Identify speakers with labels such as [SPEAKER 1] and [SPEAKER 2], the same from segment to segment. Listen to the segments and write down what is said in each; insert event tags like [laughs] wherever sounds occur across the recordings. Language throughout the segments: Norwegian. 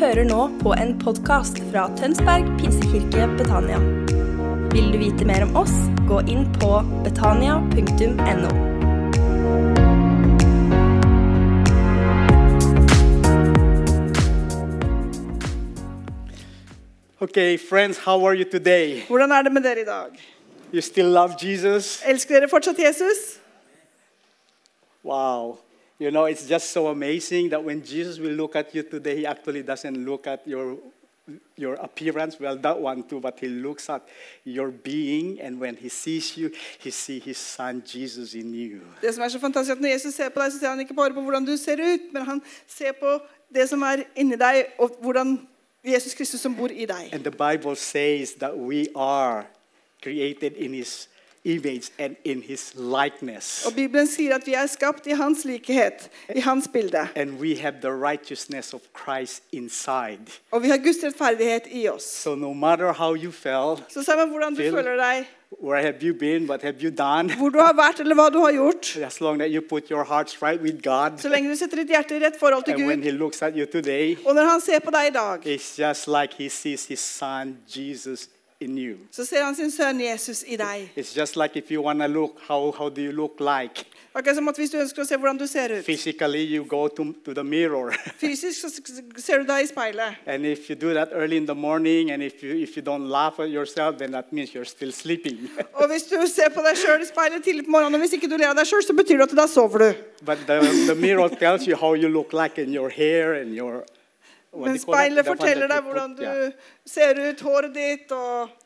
[SPEAKER 1] hører nå på en podkast fra Tønsberg pinsekirke Betania. Vil du vite mer om oss, gå inn på betania.no.
[SPEAKER 2] Okay, friends, how are you today?
[SPEAKER 3] Hvordan er det med dere i dag?
[SPEAKER 2] You still love Jesus?
[SPEAKER 3] Elsker dere fortsatt Jesus?
[SPEAKER 2] Wow. You know, it's just so amazing that when Jesus will look at you today, he actually doesn't look at your, your appearance, well, that one too, but he looks at your being, and when he sees you, he sees his son Jesus in you.
[SPEAKER 3] Det som er så fantastisk at Når Jesus ser på deg, så ser han ikke bare på hvordan du ser ut, men han ser på det som er inni deg, og hvordan Jesus Kristus som bor i deg.
[SPEAKER 2] And the Bible says that we are created in his image and in his likeness.
[SPEAKER 3] Og Bibelen sier at vi er skapt i hans likhet, i hans bilde.
[SPEAKER 2] And we have the righteousness of Christ inside.
[SPEAKER 3] Og vi har Guds rettferdighet i oss.
[SPEAKER 2] So no matter how you felt,
[SPEAKER 3] Så sammen hvordan du
[SPEAKER 2] Feel-
[SPEAKER 3] føler deg,
[SPEAKER 2] Where have you been? What have you done? [laughs]
[SPEAKER 3] hvor du har vært, eller hva du har gjort,
[SPEAKER 2] As long as you put your hearts right with God,
[SPEAKER 3] så lenge du setter ditt hjerte i rett forhold til
[SPEAKER 2] and when
[SPEAKER 3] Gud,
[SPEAKER 2] He looks at you today,
[SPEAKER 3] og når han ser på deg i dag,
[SPEAKER 2] it's just like He sees His Son Jesus in you.
[SPEAKER 3] så ser han sin sønn Jesus i deg.
[SPEAKER 2] It's just like if you want to look, how, how do you look like?
[SPEAKER 3] Akkurat som at hvis du ønsker å se hvordan du ser ut.
[SPEAKER 2] Physically, you go to, to the mirror. [laughs]
[SPEAKER 3] Fysisk så s- ser du deg i speilet.
[SPEAKER 2] and if you do that early in the morning, and if you, if you don't laugh at yourself, then that means you're still sleeping. [laughs]
[SPEAKER 3] Og hvis du ser på deg sjøl i speilet tidlig på morgenen, og hvis ikke du ler av deg sjøl, så betyr det at da sover du.
[SPEAKER 2] but the, the mirror tells you how you look like in your hair and your. what do
[SPEAKER 3] Men
[SPEAKER 2] you call that?
[SPEAKER 3] speilet
[SPEAKER 2] The one
[SPEAKER 3] forteller
[SPEAKER 2] that
[SPEAKER 3] deg
[SPEAKER 2] you put-
[SPEAKER 3] hvordan du
[SPEAKER 2] yeah.
[SPEAKER 3] ser ut, håret ditt og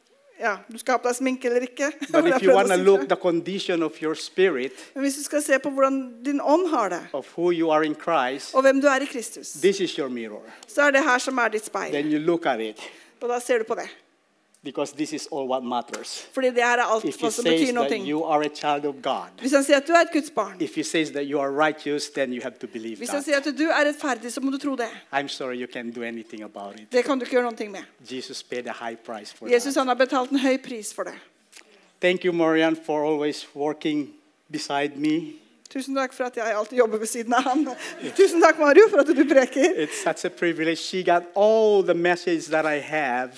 [SPEAKER 3] Ja, du skal ha på deg sminke eller ikke.
[SPEAKER 2] But
[SPEAKER 3] [laughs] Hvordan
[SPEAKER 2] if
[SPEAKER 3] jeg
[SPEAKER 2] you
[SPEAKER 3] prøvde å
[SPEAKER 2] want to
[SPEAKER 3] si
[SPEAKER 2] look
[SPEAKER 3] det.
[SPEAKER 2] the condition of your spirit,
[SPEAKER 3] Men hvis du skal se på hvordan din ånd har det,
[SPEAKER 2] of who you are in Christ,
[SPEAKER 3] og hvem du er i Kristus,
[SPEAKER 2] this is your mirror.
[SPEAKER 3] så er det her som er ditt speil.
[SPEAKER 2] Then you look at it
[SPEAKER 3] Og da ser du på det.
[SPEAKER 2] because this is all what matters.
[SPEAKER 3] Fordi det her er alt
[SPEAKER 2] If he
[SPEAKER 3] hva som
[SPEAKER 2] says
[SPEAKER 3] betyr
[SPEAKER 2] that
[SPEAKER 3] noe.
[SPEAKER 2] you are a child of God,
[SPEAKER 3] Hvis han sier at du er et Guds barn,
[SPEAKER 2] if he says that you are righteous, then you have to believe
[SPEAKER 3] hvis han
[SPEAKER 2] that.
[SPEAKER 3] sier at du er rettferdig, så må du tro det.
[SPEAKER 2] I'm sorry, you can't do anything about it.
[SPEAKER 3] Det kan du ikke gjøre noe med.
[SPEAKER 2] Jesus paid a high price for
[SPEAKER 3] Jesus
[SPEAKER 2] that.
[SPEAKER 3] han har betalt en høy pris for det.
[SPEAKER 2] Thank you, Marian, for always working beside me.
[SPEAKER 3] Tusen takk for at jeg alltid jobber ved siden av han. Tusen takk, Mario, for at du preker.
[SPEAKER 2] It's such a privilege. She got all the message that I have,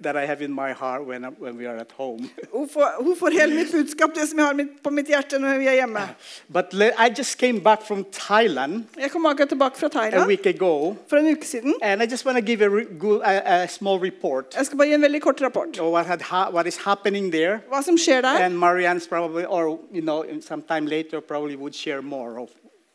[SPEAKER 2] that I have in my heart when, I'm- when we are at home.
[SPEAKER 3] Hun får, hun får hele mitt budskap, det som jeg har mitt, på mitt hjerte når vi er hjemme.
[SPEAKER 2] But le- I just came back from Thailand
[SPEAKER 3] Jeg kom akkurat tilbake fra
[SPEAKER 2] a
[SPEAKER 3] Thailand
[SPEAKER 2] week ago,
[SPEAKER 3] for en uke siden.
[SPEAKER 2] and I just want to give a, re- good, a, a small report
[SPEAKER 3] Jeg skal bare gi en veldig kort rapport.
[SPEAKER 2] of what, had ha- what is happening there.
[SPEAKER 3] Hva som skjer der.
[SPEAKER 2] And Marianne's probably, or you know, in sometime later probably would share more of,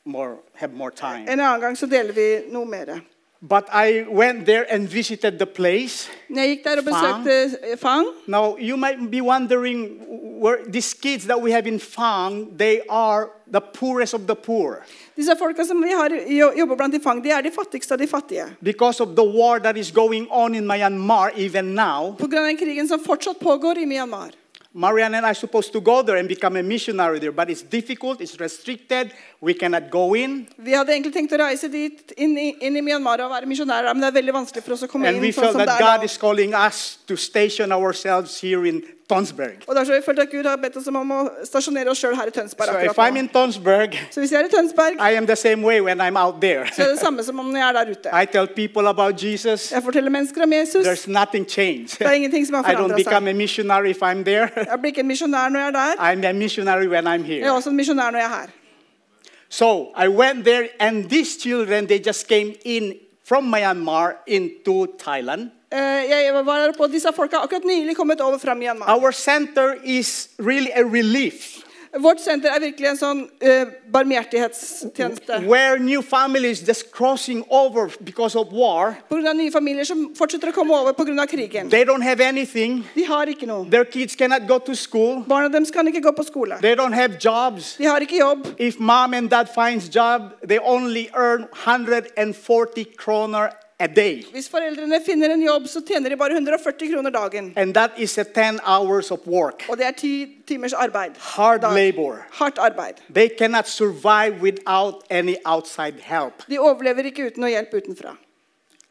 [SPEAKER 2] more have more time.
[SPEAKER 3] En annen gang så deler vi noe mer.
[SPEAKER 2] But I went there and visited the place.
[SPEAKER 3] Når jeg gikk der og
[SPEAKER 2] Fang.
[SPEAKER 3] besøkte eh, Fang,
[SPEAKER 2] Now you might be wondering where these kids that we have in Fang, they are the poorest of the poor
[SPEAKER 3] disse folka som vi har jo- jobber blant i Fang, de er de fattigste av de fattige.
[SPEAKER 2] because of the war that is going on in Myanmar even now.
[SPEAKER 3] Pga. den krigen som fortsatt pågår i Myanmar.
[SPEAKER 2] Marianne and I are supposed to go there and become a missionary there, but it's difficult, it's restricted, we cannot go in.
[SPEAKER 3] Vi hadde egentlig tenkt å reise dit, inn i, inn i Myanmar og være misjonærer, men det er veldig vanskelig for oss å komme
[SPEAKER 2] And
[SPEAKER 3] inn
[SPEAKER 2] we
[SPEAKER 3] sånn
[SPEAKER 2] felt
[SPEAKER 3] som det
[SPEAKER 2] that
[SPEAKER 3] er
[SPEAKER 2] God
[SPEAKER 3] nå.
[SPEAKER 2] is calling us to station ourselves here in Tonsberg.
[SPEAKER 3] Og derfor har vi følt at Gud har bedt oss om å stasjonere oss sjøl her i Tønsberg
[SPEAKER 2] So if
[SPEAKER 3] akkurat
[SPEAKER 2] I'm
[SPEAKER 3] nå.
[SPEAKER 2] in Tonsberg,
[SPEAKER 3] Så hvis jeg er i Tønsberg,
[SPEAKER 2] I am the same way when I'm out there.
[SPEAKER 3] så er det det samme som om jeg er der ute.
[SPEAKER 2] I tell people about Jesus,
[SPEAKER 3] Jeg forteller mennesker om Jesus.
[SPEAKER 2] there's nothing changed.
[SPEAKER 3] Det er ingenting som har
[SPEAKER 2] I don't
[SPEAKER 3] forandret seg.
[SPEAKER 2] become a missionary if I'm there. [laughs]
[SPEAKER 3] Jeg blir ikke en misjonær når jeg er der.
[SPEAKER 2] I'm a missionary when I'm
[SPEAKER 3] Jeg er
[SPEAKER 2] here.
[SPEAKER 3] også en misjonær når jeg er her.
[SPEAKER 2] So I went there, and these children, they just came in from Myanmar into Thailand.
[SPEAKER 3] Eh, Jeg var her oppe, og disse folka har akkurat nylig kommet over fra Myanmar.
[SPEAKER 2] Our center is really a relief
[SPEAKER 3] Vårt senter er virkelig en sånn eh, barmhjertighetstjeneste.
[SPEAKER 2] where new families just crossing over because of war.
[SPEAKER 3] Pga. nye familier som fortsetter å komme over pga. krigen.
[SPEAKER 2] They don't have anything.
[SPEAKER 3] De har ikke noe.
[SPEAKER 2] Their kids cannot go to school.
[SPEAKER 3] Barna deres kan ikke gå på skole.
[SPEAKER 2] They don't have jobs.
[SPEAKER 3] De har ikke jobb.
[SPEAKER 2] If mom and dad finds job, they only earn 140 kroner a day.
[SPEAKER 3] Hvis foreldrene finner en jobb, så tjener de bare 140 kroner dagen.
[SPEAKER 2] And that is a 10 hours of work.
[SPEAKER 3] Og det er ti timers arbeid.
[SPEAKER 2] Hard
[SPEAKER 3] Dag.
[SPEAKER 2] labor.
[SPEAKER 3] Hardt arbeid.
[SPEAKER 2] They cannot survive without any outside help.
[SPEAKER 3] De overlever ikke uten noe hjelp utenfra.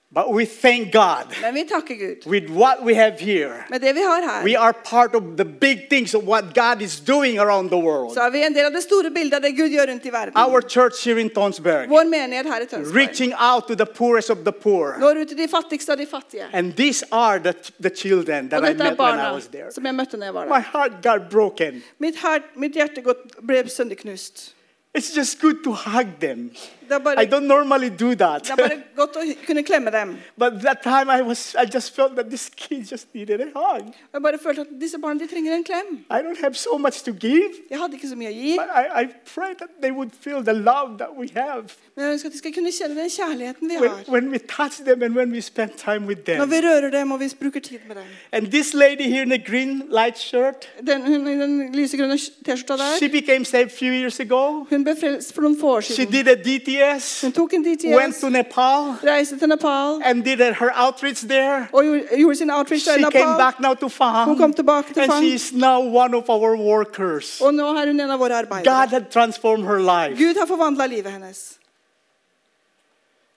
[SPEAKER 2] But we thank God
[SPEAKER 3] Men vi takker Gud.
[SPEAKER 2] with what we have here.
[SPEAKER 3] Med det vi har her,
[SPEAKER 2] We are part of the big things of what God is doing around the world.
[SPEAKER 3] så er vi en del av det store bildet av det Gud gjør rundt i verden.
[SPEAKER 2] Our church here in Tonsberg,
[SPEAKER 3] Vår menighet her i Tønsberg
[SPEAKER 2] reaching out to the poorest of the poor.
[SPEAKER 3] når ut til de fattigste av de fattige.
[SPEAKER 2] And these are the, the children that
[SPEAKER 3] Og
[SPEAKER 2] I
[SPEAKER 3] dette
[SPEAKER 2] met
[SPEAKER 3] er
[SPEAKER 2] when
[SPEAKER 3] barna
[SPEAKER 2] I was there.
[SPEAKER 3] som jeg møtte når jeg var
[SPEAKER 2] My
[SPEAKER 3] der.
[SPEAKER 2] heart got broken.
[SPEAKER 3] Mitt, her, mitt hjerte gått- ble sønderknust.
[SPEAKER 2] It's just good to hug them.
[SPEAKER 3] Det er
[SPEAKER 2] I
[SPEAKER 3] bare,
[SPEAKER 2] don't normally do
[SPEAKER 3] det er
[SPEAKER 2] that.
[SPEAKER 3] bare godt å kunne klemme dem.
[SPEAKER 2] [laughs] But that time I was I just felt that this kid just needed a hug.
[SPEAKER 3] Jeg bare følte at disse barna de trenger en klem.
[SPEAKER 2] I don't have so much to give.
[SPEAKER 3] Jeg hadde ikke så mye å gi,
[SPEAKER 2] But I, I pray that they would feel the love that we have
[SPEAKER 3] men jeg ønsker at de skal kunne kjenne den kjærligheten vi
[SPEAKER 2] when,
[SPEAKER 3] har.
[SPEAKER 2] when we touch them and when we spend time with
[SPEAKER 3] Når vi
[SPEAKER 2] them.
[SPEAKER 3] rører dem og vi bruker tid med dem.
[SPEAKER 2] And this lady here in the green light shirt,
[SPEAKER 3] Den, hun i den lysegrønne T-skjorta
[SPEAKER 2] she
[SPEAKER 3] der,
[SPEAKER 2] became saved a few years ago.
[SPEAKER 3] hun ble frelst for noen få år
[SPEAKER 2] She
[SPEAKER 3] siden.
[SPEAKER 2] did a DTS,
[SPEAKER 3] Hun tok en
[SPEAKER 2] went
[SPEAKER 3] DTS,
[SPEAKER 2] to Nepal,
[SPEAKER 3] reiste til Nepal
[SPEAKER 2] and did her outreach there.
[SPEAKER 3] og gjorde, gjorde sin outreach
[SPEAKER 2] She
[SPEAKER 3] der i
[SPEAKER 2] came
[SPEAKER 3] Nepal.
[SPEAKER 2] back now to Faham,
[SPEAKER 3] Hun kom tilbake til
[SPEAKER 2] and
[SPEAKER 3] Faham.
[SPEAKER 2] she is now one of our workers.
[SPEAKER 3] Og nå er hun en av våre arbeidere.
[SPEAKER 2] God had transformed her life.
[SPEAKER 3] Gud har forvandla livet hennes.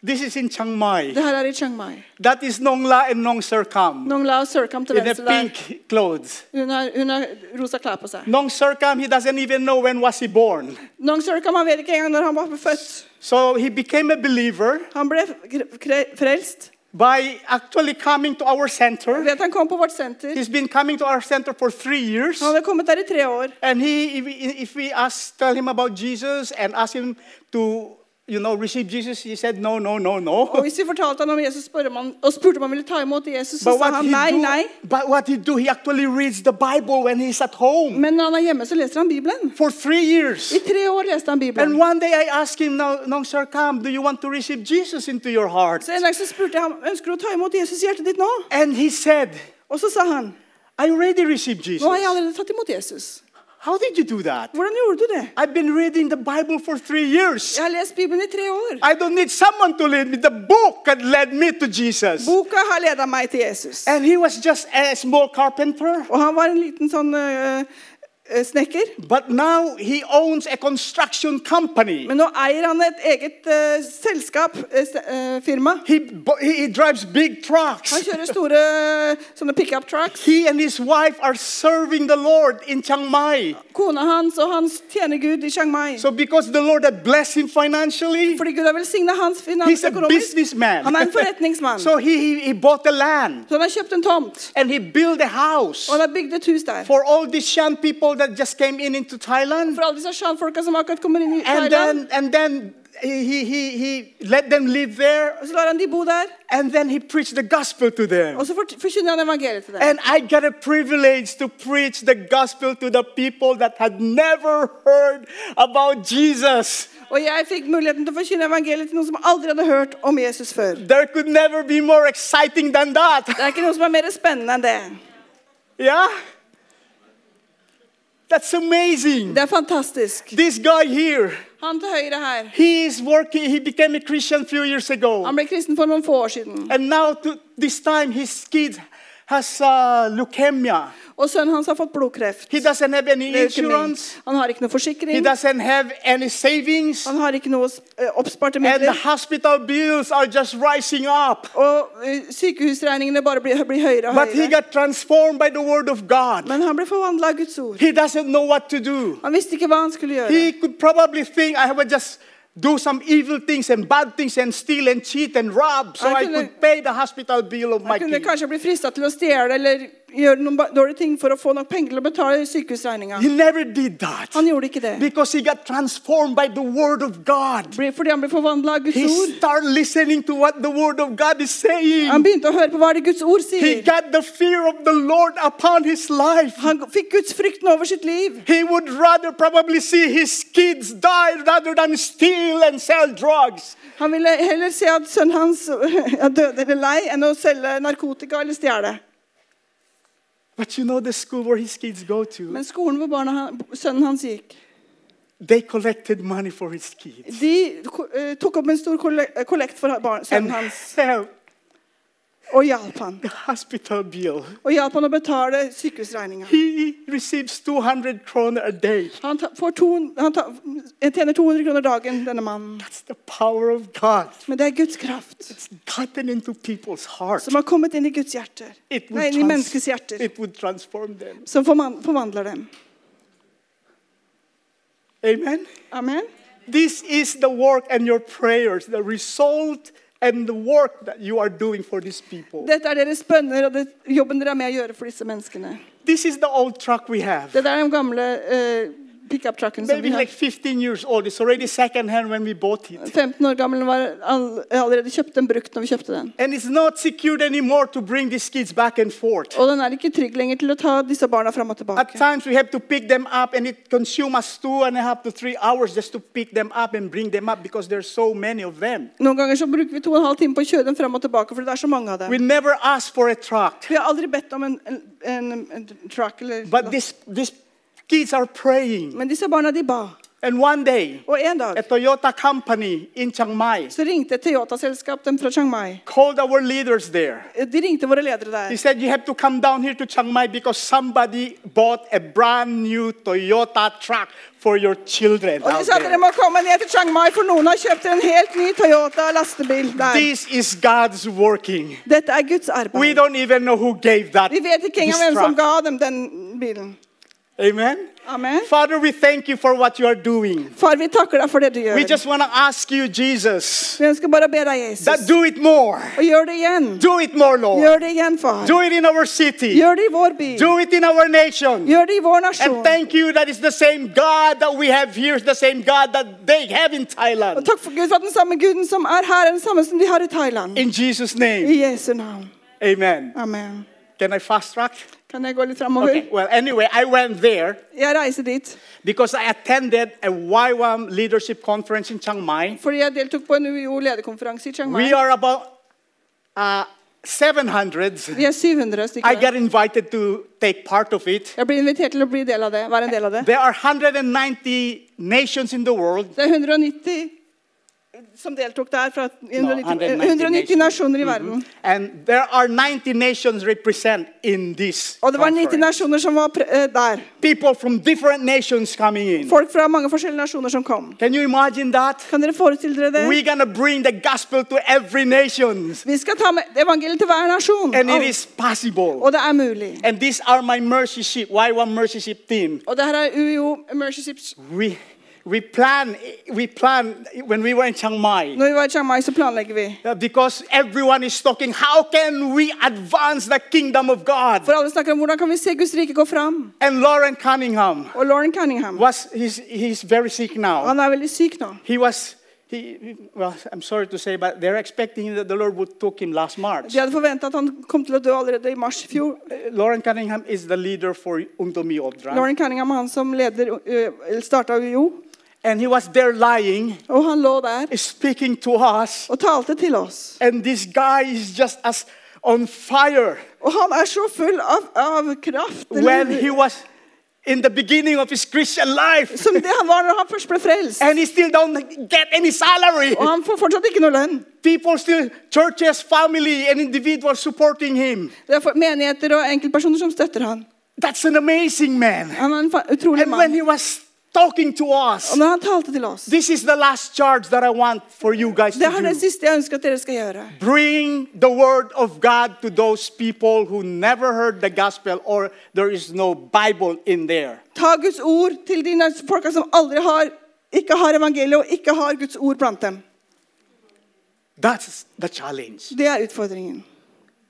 [SPEAKER 2] This is in Chiang Mai.
[SPEAKER 3] Det her er i Chiang Mai.
[SPEAKER 2] That is Nong La and Nong Serkam
[SPEAKER 3] Nong Lao Surkam til
[SPEAKER 2] in the
[SPEAKER 3] venstre der.
[SPEAKER 2] pink clothes.
[SPEAKER 3] Hun har, hun har rosa klær på seg.
[SPEAKER 2] Nong Serkam, he doesn't even know when was he born.
[SPEAKER 3] Nong Surkam han vet ikke engang når han var født.
[SPEAKER 2] So he became a believer
[SPEAKER 3] Han ble kre- kre- frelst
[SPEAKER 2] by actually coming to our
[SPEAKER 3] ved
[SPEAKER 2] center.
[SPEAKER 3] at han kom på vårt senter.
[SPEAKER 2] He's been coming to our center for three years.
[SPEAKER 3] Han hadde kommet der i tre år.
[SPEAKER 2] And he, if we, if we ask, tell him about Jesus and ask him to, you know, receive Jesus, he said, no, no, no,
[SPEAKER 3] Og
[SPEAKER 2] no.
[SPEAKER 3] hvis vi fortalte han om Jesus spurte om han, og spurte om han ville ta imot Jesus, så
[SPEAKER 2] But
[SPEAKER 3] sa
[SPEAKER 2] what,
[SPEAKER 3] han
[SPEAKER 2] he
[SPEAKER 3] nei, nei.
[SPEAKER 2] do, but what he do, he actually reads the Bible when he's at home
[SPEAKER 3] Men når han er hjemme, så leser han Bibelen.
[SPEAKER 2] for three years.
[SPEAKER 3] I tre år leste han Bibelen.
[SPEAKER 2] And one day I asked him, "Now, Nong Sarkam, do you want to receive Jesus into your heart?
[SPEAKER 3] Så en dag så spurte jeg ham ønsker du å ta imot Jesus i hjertet ditt nå.
[SPEAKER 2] And he said,
[SPEAKER 3] Og så sa han
[SPEAKER 2] I already received Jesus.
[SPEAKER 3] nå har jeg allerede tatt imot Jesus.
[SPEAKER 2] How did you do that?
[SPEAKER 3] Hvordan gjorde du det?
[SPEAKER 2] I've been reading the Bible for three years.
[SPEAKER 3] Jeg har lest Bibelen i tre år.
[SPEAKER 2] I don't need someone to lead me. The book had led me to Jesus.
[SPEAKER 3] Boka har leda meg til Jesus.
[SPEAKER 2] And he was just a small carpenter.
[SPEAKER 3] Eh, Og han var en liten sånn øh, øh, snekker.
[SPEAKER 2] But now he owns a construction company.
[SPEAKER 3] Men nå eier han et eget øh, selskap, øh, s- øh, firma.
[SPEAKER 2] He, bo- he he drives big
[SPEAKER 3] Han
[SPEAKER 2] trucks.
[SPEAKER 3] kjører store eh, sånne pickup trucks.
[SPEAKER 2] He and his wife are serving the Lord in Chiang Mai.
[SPEAKER 3] Kona hans og hans tjener Gud i Chiang Mai.
[SPEAKER 2] So because the Lord had blessed him financially,
[SPEAKER 3] Fordi Gud har velsigna hans
[SPEAKER 2] He's
[SPEAKER 3] finans
[SPEAKER 2] a
[SPEAKER 3] økonomisk.
[SPEAKER 2] businessman.
[SPEAKER 3] Han er en [laughs] forretningsmann.
[SPEAKER 2] so he, he, he bought the land
[SPEAKER 3] Så han har kjøpt en tomt,
[SPEAKER 2] and he built a house
[SPEAKER 3] og han har bygd et hus der.
[SPEAKER 2] for all these Shan people that just came in into Thailand.
[SPEAKER 3] For alle disse sjanfolka som akkurat kommer inn i
[SPEAKER 2] And
[SPEAKER 3] Thailand.
[SPEAKER 2] then, and then he, he, he, he let them live there
[SPEAKER 3] Og så lar han de bo der,
[SPEAKER 2] and then he preached the gospel to them.
[SPEAKER 3] og så fort- forkynner han evangeliet til dem.
[SPEAKER 2] And I got a privilege to preach the gospel to the people that had never heard about Jesus.
[SPEAKER 3] Og jeg fikk muligheten til å forkynne evangeliet til noen som aldri hadde hørt om Jesus før.
[SPEAKER 2] There could never be more exciting than that. [laughs]
[SPEAKER 3] Det er ikke noe som er mer spennende enn det.
[SPEAKER 2] Yeah? That's amazing.
[SPEAKER 3] Det er fantastisk.
[SPEAKER 2] This guy here,
[SPEAKER 3] Han til høyre her,
[SPEAKER 2] he is working, he became a Christian a few years ago.
[SPEAKER 3] han ble kristen for noen få år siden.
[SPEAKER 2] And now to, this time his kid has uh, leukemia.
[SPEAKER 3] Og sønnen hans har fått blodkreft.
[SPEAKER 2] He doesn't have any
[SPEAKER 3] Leukemi.
[SPEAKER 2] insurance.
[SPEAKER 3] Han har ikke noe
[SPEAKER 2] He
[SPEAKER 3] forsikring.
[SPEAKER 2] doesn't have any savings.
[SPEAKER 3] Han har ikke noe s- eh, oppsparte
[SPEAKER 2] And the
[SPEAKER 3] midler.
[SPEAKER 2] hospital bills are just rising up.
[SPEAKER 3] Og eh, sykehusregningene bare blir, blir høyere og
[SPEAKER 2] But he
[SPEAKER 3] høyere.
[SPEAKER 2] got transformed by the word of God.
[SPEAKER 3] Men han ble forvandla av Guds ord.
[SPEAKER 2] He doesn't know what to do.
[SPEAKER 3] Han visste ikke hva han skulle gjøre.
[SPEAKER 2] He could probably think I would just do some evil things and bad things and steal and cheat and rob so
[SPEAKER 3] I
[SPEAKER 2] I
[SPEAKER 3] can-
[SPEAKER 2] could pay the hospital bill of my
[SPEAKER 3] Han kunne
[SPEAKER 2] kid.
[SPEAKER 3] kanskje bli frista til å stjele eller gjøre noen ba- dårlige ting for å få nok penger til å betale sykehusregninga.
[SPEAKER 2] He never did that
[SPEAKER 3] Han gjorde ikke det.
[SPEAKER 2] because he got transformed by the word of God.
[SPEAKER 3] Bli- Fordi han ble forvandla av Guds
[SPEAKER 2] He
[SPEAKER 3] ord.
[SPEAKER 2] started listening to what the word of God is
[SPEAKER 3] Han
[SPEAKER 2] saying.
[SPEAKER 3] begynte å høre på hva det Guds ord
[SPEAKER 2] He
[SPEAKER 3] sier.
[SPEAKER 2] got the fear of the Lord upon his life.
[SPEAKER 3] Han fikk Guds frykten over sitt liv.
[SPEAKER 2] He would rather probably see his kids die rather than steal and sell drugs.
[SPEAKER 3] Han ville heller se at sønnen hans [laughs] er død eller lei enn å selge narkotika eller stjele.
[SPEAKER 2] But you know the school where his kids go to,
[SPEAKER 3] Men skolen hvor barna, han- sønnen hans gikk,
[SPEAKER 2] they collected money for his kids.
[SPEAKER 3] de ko- eh, tok opp en stor kolle- eh, kollekt for ha- barn,
[SPEAKER 2] And
[SPEAKER 3] sønnen hans.
[SPEAKER 2] help,
[SPEAKER 3] og hjalp han.
[SPEAKER 2] the hospital bill.
[SPEAKER 3] Og hjalp han å betale sykehusregninga.
[SPEAKER 2] He receives 200 kroner a day.
[SPEAKER 3] Han, ta- får to- han ta- han tjener 200 kroner dagen, denne mannen.
[SPEAKER 2] That's the power of God.
[SPEAKER 3] Men det er Guds kraft
[SPEAKER 2] It's gotten into people's hearts.
[SPEAKER 3] som har kommet inn i Guds hjerter.
[SPEAKER 2] It
[SPEAKER 3] Nei,
[SPEAKER 2] would,
[SPEAKER 3] inn i
[SPEAKER 2] trans-
[SPEAKER 3] menneskets hjerter.
[SPEAKER 2] it would transform them.
[SPEAKER 3] Som forman- forvandler dem.
[SPEAKER 2] Amen.
[SPEAKER 3] Amen.
[SPEAKER 2] This is the work and your prayers, the result and the work that you are doing for these people.
[SPEAKER 3] Dette er deres bønner og det, jobben dere er med å gjøre for disse menneskene.
[SPEAKER 2] This is the old truck we have.
[SPEAKER 3] Dette er den gamle eh, pickup-trucken som
[SPEAKER 2] Maybe
[SPEAKER 3] vi
[SPEAKER 2] like
[SPEAKER 3] har.
[SPEAKER 2] 15 years old. It's already second hand when we bought it.
[SPEAKER 3] 15 år gammel var all, allerede kjøpt den brukt når vi kjøpte den.
[SPEAKER 2] And it's not secured anymore to bring these kids back and forth.
[SPEAKER 3] Og den er ikke trygg lenger til å ta disse barna fram og
[SPEAKER 2] At
[SPEAKER 3] tilbake.
[SPEAKER 2] times we have to pick them up, and it consumes us two and a half to three hours just to pick them up and bring them up because there's so many of them.
[SPEAKER 3] Noen ganger så bruker vi to og en halv time på å kjøre dem fram og tilbake, for det er så mange av dem.
[SPEAKER 2] We never asked for a truck.
[SPEAKER 3] Vi har aldri bedt om en, en, en, en truck eller
[SPEAKER 2] But this, these kids are praying.
[SPEAKER 3] Men disse barna, de ba.
[SPEAKER 2] And one day,
[SPEAKER 3] Og en dag
[SPEAKER 2] a Toyota company in Chiang Mai
[SPEAKER 3] så ringte et Toyota-selskap dem fra Chiang Mai.
[SPEAKER 2] called our leaders there.
[SPEAKER 3] De ringte våre ledere
[SPEAKER 2] He
[SPEAKER 3] der.
[SPEAKER 2] said, You have to come down here to Chiang Mai because somebody bought a brand new Toyota truck for your children.
[SPEAKER 3] Og de
[SPEAKER 2] out
[SPEAKER 3] sa at
[SPEAKER 2] there."
[SPEAKER 3] dere må komme ned til Chiang Mai, for noen har kjøpt en helt ny Toyota lastebil der.
[SPEAKER 2] This is God's working.
[SPEAKER 3] Dette er Guds
[SPEAKER 2] We
[SPEAKER 3] arbeid.
[SPEAKER 2] don't even know who gave that.
[SPEAKER 3] Vi vet ikke engang
[SPEAKER 2] this
[SPEAKER 3] hvem som
[SPEAKER 2] truck.
[SPEAKER 3] ga dem den bilen.
[SPEAKER 2] Amen.
[SPEAKER 3] Amen.
[SPEAKER 2] Father, we thank you for what you are doing.
[SPEAKER 3] Far, vi takker deg for det du
[SPEAKER 2] We
[SPEAKER 3] gjør.
[SPEAKER 2] just want to ask you, Jesus,
[SPEAKER 3] Vi ønsker bare å be deg,
[SPEAKER 2] that
[SPEAKER 3] Jesus,
[SPEAKER 2] do it more.
[SPEAKER 3] og gjør det igjen.
[SPEAKER 2] Do it more, Lord.
[SPEAKER 3] Gjør det igjen, far.
[SPEAKER 2] Do it in our city.
[SPEAKER 3] Gjør det i vår by.
[SPEAKER 2] Do it in our nation.
[SPEAKER 3] Gjør det i vår
[SPEAKER 2] And
[SPEAKER 3] nasjon.
[SPEAKER 2] thank you that it's the same God that we have here, it's the same God that they have in
[SPEAKER 3] Og
[SPEAKER 2] Thailand.
[SPEAKER 3] takk for Gud for at den samme Guden som er her, er den samme som de har i Thailand.
[SPEAKER 2] In Jesus' name.
[SPEAKER 3] I Jesu navn.
[SPEAKER 2] Amen.
[SPEAKER 3] Amen.
[SPEAKER 2] Can I fast track?
[SPEAKER 3] Kan jeg gå litt framover?
[SPEAKER 2] Okay. Well, anyway, I went there
[SPEAKER 3] Jeg reiser dit
[SPEAKER 2] because I attended a YWAM leadership conference in Chiang Mai.
[SPEAKER 3] fordi jeg deltok på en UiO-lederkonferanse i Chiang Mai.
[SPEAKER 2] We are about uh, 700.
[SPEAKER 3] Vi er 700
[SPEAKER 2] I
[SPEAKER 3] stykker.
[SPEAKER 2] got invited to take part of it.
[SPEAKER 3] Jeg blir invitert til å bli del av det, være en del av det.
[SPEAKER 2] There are 190 nations in the world.
[SPEAKER 3] Det er 190 som deltok der, fra
[SPEAKER 2] No,
[SPEAKER 3] 190, eh, 190 nasjoner i
[SPEAKER 2] Mm-hmm.
[SPEAKER 3] verden.
[SPEAKER 2] And there are 90 nations represent in this
[SPEAKER 3] Og det var 90
[SPEAKER 2] conference.
[SPEAKER 3] nasjoner som var pre eh, der.
[SPEAKER 2] People from different nations coming in.
[SPEAKER 3] Folk fra mange forskjellige nasjoner som kom.
[SPEAKER 2] Can you imagine that?
[SPEAKER 3] Kan dere forestille dere det?
[SPEAKER 2] We're going to bring the gospel to every nation.
[SPEAKER 3] Vi skal ta med evangeliet til hver nasjon.
[SPEAKER 2] And it
[SPEAKER 3] Alle.
[SPEAKER 2] is possible.
[SPEAKER 3] Og det er mulig.
[SPEAKER 2] And these are my mercy ship, Y1 mercy ship team.
[SPEAKER 3] Og det her er UiO Emergency
[SPEAKER 2] We, we plan, we plan when we were in Chiang Mai.
[SPEAKER 3] Når vi var i Chiang Mai, så planlegger vi.
[SPEAKER 2] Uh, Because everyone is talking, how can we advance the kingdom of God?
[SPEAKER 3] For alle snakker om hvordan kan vi se Guds rike gå fram.
[SPEAKER 2] And Lauren Cunningham
[SPEAKER 3] Og Lauren Cunningham,
[SPEAKER 2] was he's, he's very sick now.
[SPEAKER 3] han er veldig syk nå.
[SPEAKER 2] He was he well, I'm sorry to say, but they're expecting that the Lord would took him last March.
[SPEAKER 3] De hadde forventa at han kom til å dø allerede i mars i fjor.
[SPEAKER 2] Uh, Lauren Cunningham is the leader for Undomi Odra,
[SPEAKER 3] Lauren Cunningham er han som leder starta UiO.
[SPEAKER 2] and he was there lying,
[SPEAKER 3] Og han lå der
[SPEAKER 2] speaking to us,
[SPEAKER 3] og talte til oss.
[SPEAKER 2] and this guy is just as on fire
[SPEAKER 3] Og han er så full av, av kraft
[SPEAKER 2] when he
[SPEAKER 3] eller,
[SPEAKER 2] was in the beginning of his Christian life,
[SPEAKER 3] som det han var når han først ble frelst.
[SPEAKER 2] and he still don't get any salary.
[SPEAKER 3] Og han får fortsatt ikke noe lønn.
[SPEAKER 2] People still, churches, family, and individuals supporting him.
[SPEAKER 3] Det er for- menigheter og enkeltpersoner som støtter han.
[SPEAKER 2] That's an amazing man.
[SPEAKER 3] Han er en fa- utrolig
[SPEAKER 2] And when
[SPEAKER 3] mann.
[SPEAKER 2] he was talking to
[SPEAKER 3] Og
[SPEAKER 2] us,
[SPEAKER 3] når han talte til oss
[SPEAKER 2] this is the last charge that I want for you guys
[SPEAKER 3] Det er det
[SPEAKER 2] to do.
[SPEAKER 3] siste jeg ønsker at dere skal gjøre.
[SPEAKER 2] Bring the word of God to those people who never heard the gospel or there is no Bible in there.
[SPEAKER 3] Ta Guds ord til de nas- folka som aldri har, ikke har evangeliet og ikke har Guds ord blant dem.
[SPEAKER 2] That's the challenge.
[SPEAKER 3] Det er utfordringen.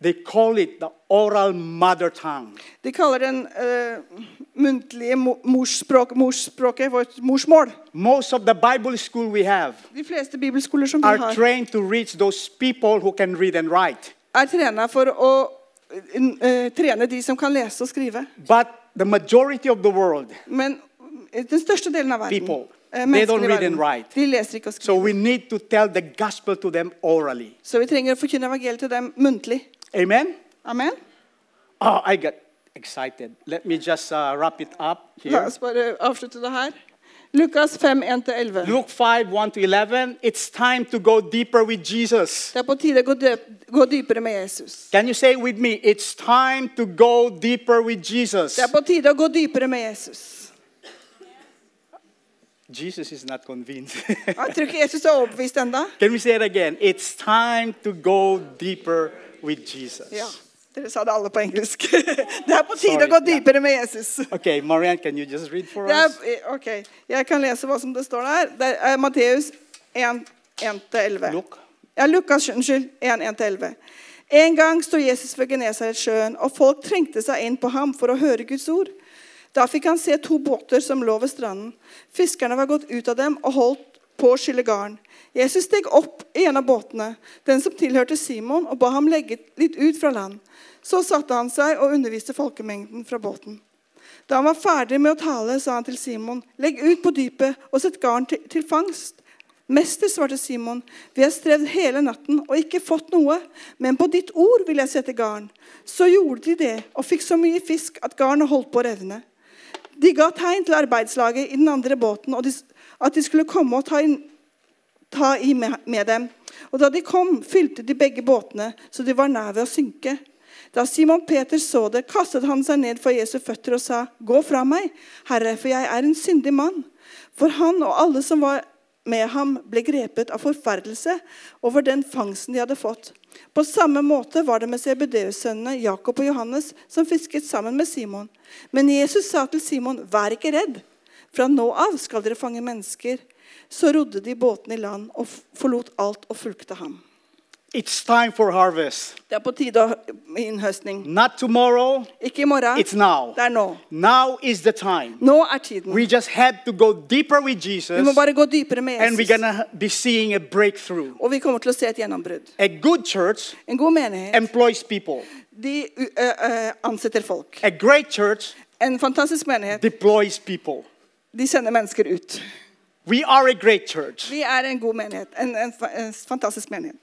[SPEAKER 2] They call it the oral mother tongue.
[SPEAKER 3] De kaller den eh, muntlige mo- morsspråk, morsspråket vårt morsmål.
[SPEAKER 2] Most of the Bible school we have
[SPEAKER 3] De fleste bibelskoler som vi
[SPEAKER 2] are
[SPEAKER 3] har,
[SPEAKER 2] trained to reach those people who can read and write.
[SPEAKER 3] er trena for å eh, trene de som kan lese og skrive.
[SPEAKER 2] But the majority of the world,
[SPEAKER 3] Men eh, den største delen av verden
[SPEAKER 2] People, they
[SPEAKER 3] eh,
[SPEAKER 2] don't
[SPEAKER 3] menneskelig
[SPEAKER 2] read
[SPEAKER 3] verden,
[SPEAKER 2] and write.
[SPEAKER 3] De leser ikke og
[SPEAKER 2] so
[SPEAKER 3] skriver.
[SPEAKER 2] we need to tell the gospel to them orally.
[SPEAKER 3] Så vi trenger å forkynne evangeliet til dem muntlig.
[SPEAKER 2] Amen?
[SPEAKER 3] Amen.
[SPEAKER 2] Oh, I got excited. Let me just uh, wrap it up
[SPEAKER 3] La
[SPEAKER 2] here.
[SPEAKER 3] oss bare avslutte det her. Lukas 5, 1-11.
[SPEAKER 2] Luke 5, 1 to 11, it's time to go deeper with Jesus.
[SPEAKER 3] Det er på tide å gå, dyp, gå dypere med Jesus.
[SPEAKER 2] Can you say it with me? It's time to go deeper with Jesus.
[SPEAKER 3] Det er på tide å gå dypere med Jesus.
[SPEAKER 2] Jesus is not convinced. [laughs]
[SPEAKER 3] Jeg tror ikke Jesus er overbevist ennå.
[SPEAKER 2] Can we say it again? It's time to go deeper with Jesus.
[SPEAKER 3] Ja, dere sa det alle på engelsk. [laughs] Det er på tide
[SPEAKER 2] Sorry,
[SPEAKER 3] å gå
[SPEAKER 2] ja.
[SPEAKER 3] dypere med Jesus.
[SPEAKER 2] Okay, Marianne, can you just read for
[SPEAKER 3] Det
[SPEAKER 2] us?
[SPEAKER 3] er, ok, Jeg kan lese hva som det står der. Det er eh, Matteus 1, 1-11.
[SPEAKER 2] Luk.
[SPEAKER 3] Ja, Lukas, unnskyld. 1, 1-11. En gang sto Jesus ved Genesaretsjøen, og folk trengte seg inn på ham for å høre Guds ord. Da fikk han se to båter som lå ved stranden. Fiskerne var gått ut av dem og holdt på å skylle garn. Jesus steg opp i en av båtene, den som tilhørte Simon, og ba ham legge litt ut fra land. Så satte han seg og underviste folkemengden fra båten. Da han var ferdig med å tale, sa han til Simon, legg ut på dypet og sett garn til, til fangst. Mester, svarte Simon, vi har strevd hele natten og ikke fått noe, men på ditt ord vil jeg sette garn. Så gjorde de det og fikk så mye fisk at garnet holdt på å revne. De ga tegn til arbeidslaget i den andre båten og de, s- at de skulle komme og ta inn ta i med med dem. Og da de kom, fylte de begge båtene, så de var nær ved å synke. Da Simon Peter så det, kastet han seg ned for Jesu føtter og sa, 'Gå fra meg, Herre, for jeg er en syndig mann.' For han og alle som var med ham, ble grepet av forferdelse over den fangsten de hadde fått. På samme måte var det med Sebedeus-sønnene Jakob og Johannes, som fisket sammen med Simon. Men Jesus sa til Simon, 'Vær ikke redd.' Fra nå av skal dere fange mennesker. Så rodde de båten i land og f- forlot alt og fulgte ham.
[SPEAKER 2] It's time for harvest.
[SPEAKER 3] Det er på tide å- med innhøstning.
[SPEAKER 2] Not tomorrow,
[SPEAKER 3] Ikke i morgen.
[SPEAKER 2] Mm. it's now.
[SPEAKER 3] Det er nå.
[SPEAKER 2] Now is the time.
[SPEAKER 3] Nå er tiden.
[SPEAKER 2] We just had to go deeper with
[SPEAKER 3] Vi må
[SPEAKER 2] Jesus,
[SPEAKER 3] bare gå dypere med
[SPEAKER 2] and we're
[SPEAKER 3] Jesus.
[SPEAKER 2] gonna be seeing a breakthrough.
[SPEAKER 3] Og vi kommer til å se et gjennombrudd.
[SPEAKER 2] A good church
[SPEAKER 3] En god menighet.
[SPEAKER 2] employs people.
[SPEAKER 3] De ø, ø, ansetter folk.
[SPEAKER 2] A great church
[SPEAKER 3] En fantastisk menighet.
[SPEAKER 2] deploys people.
[SPEAKER 3] De sender mennesker ut.
[SPEAKER 2] We are a great church.
[SPEAKER 3] Vi er en god menighet. En, en, fa- en fantastisk menighet.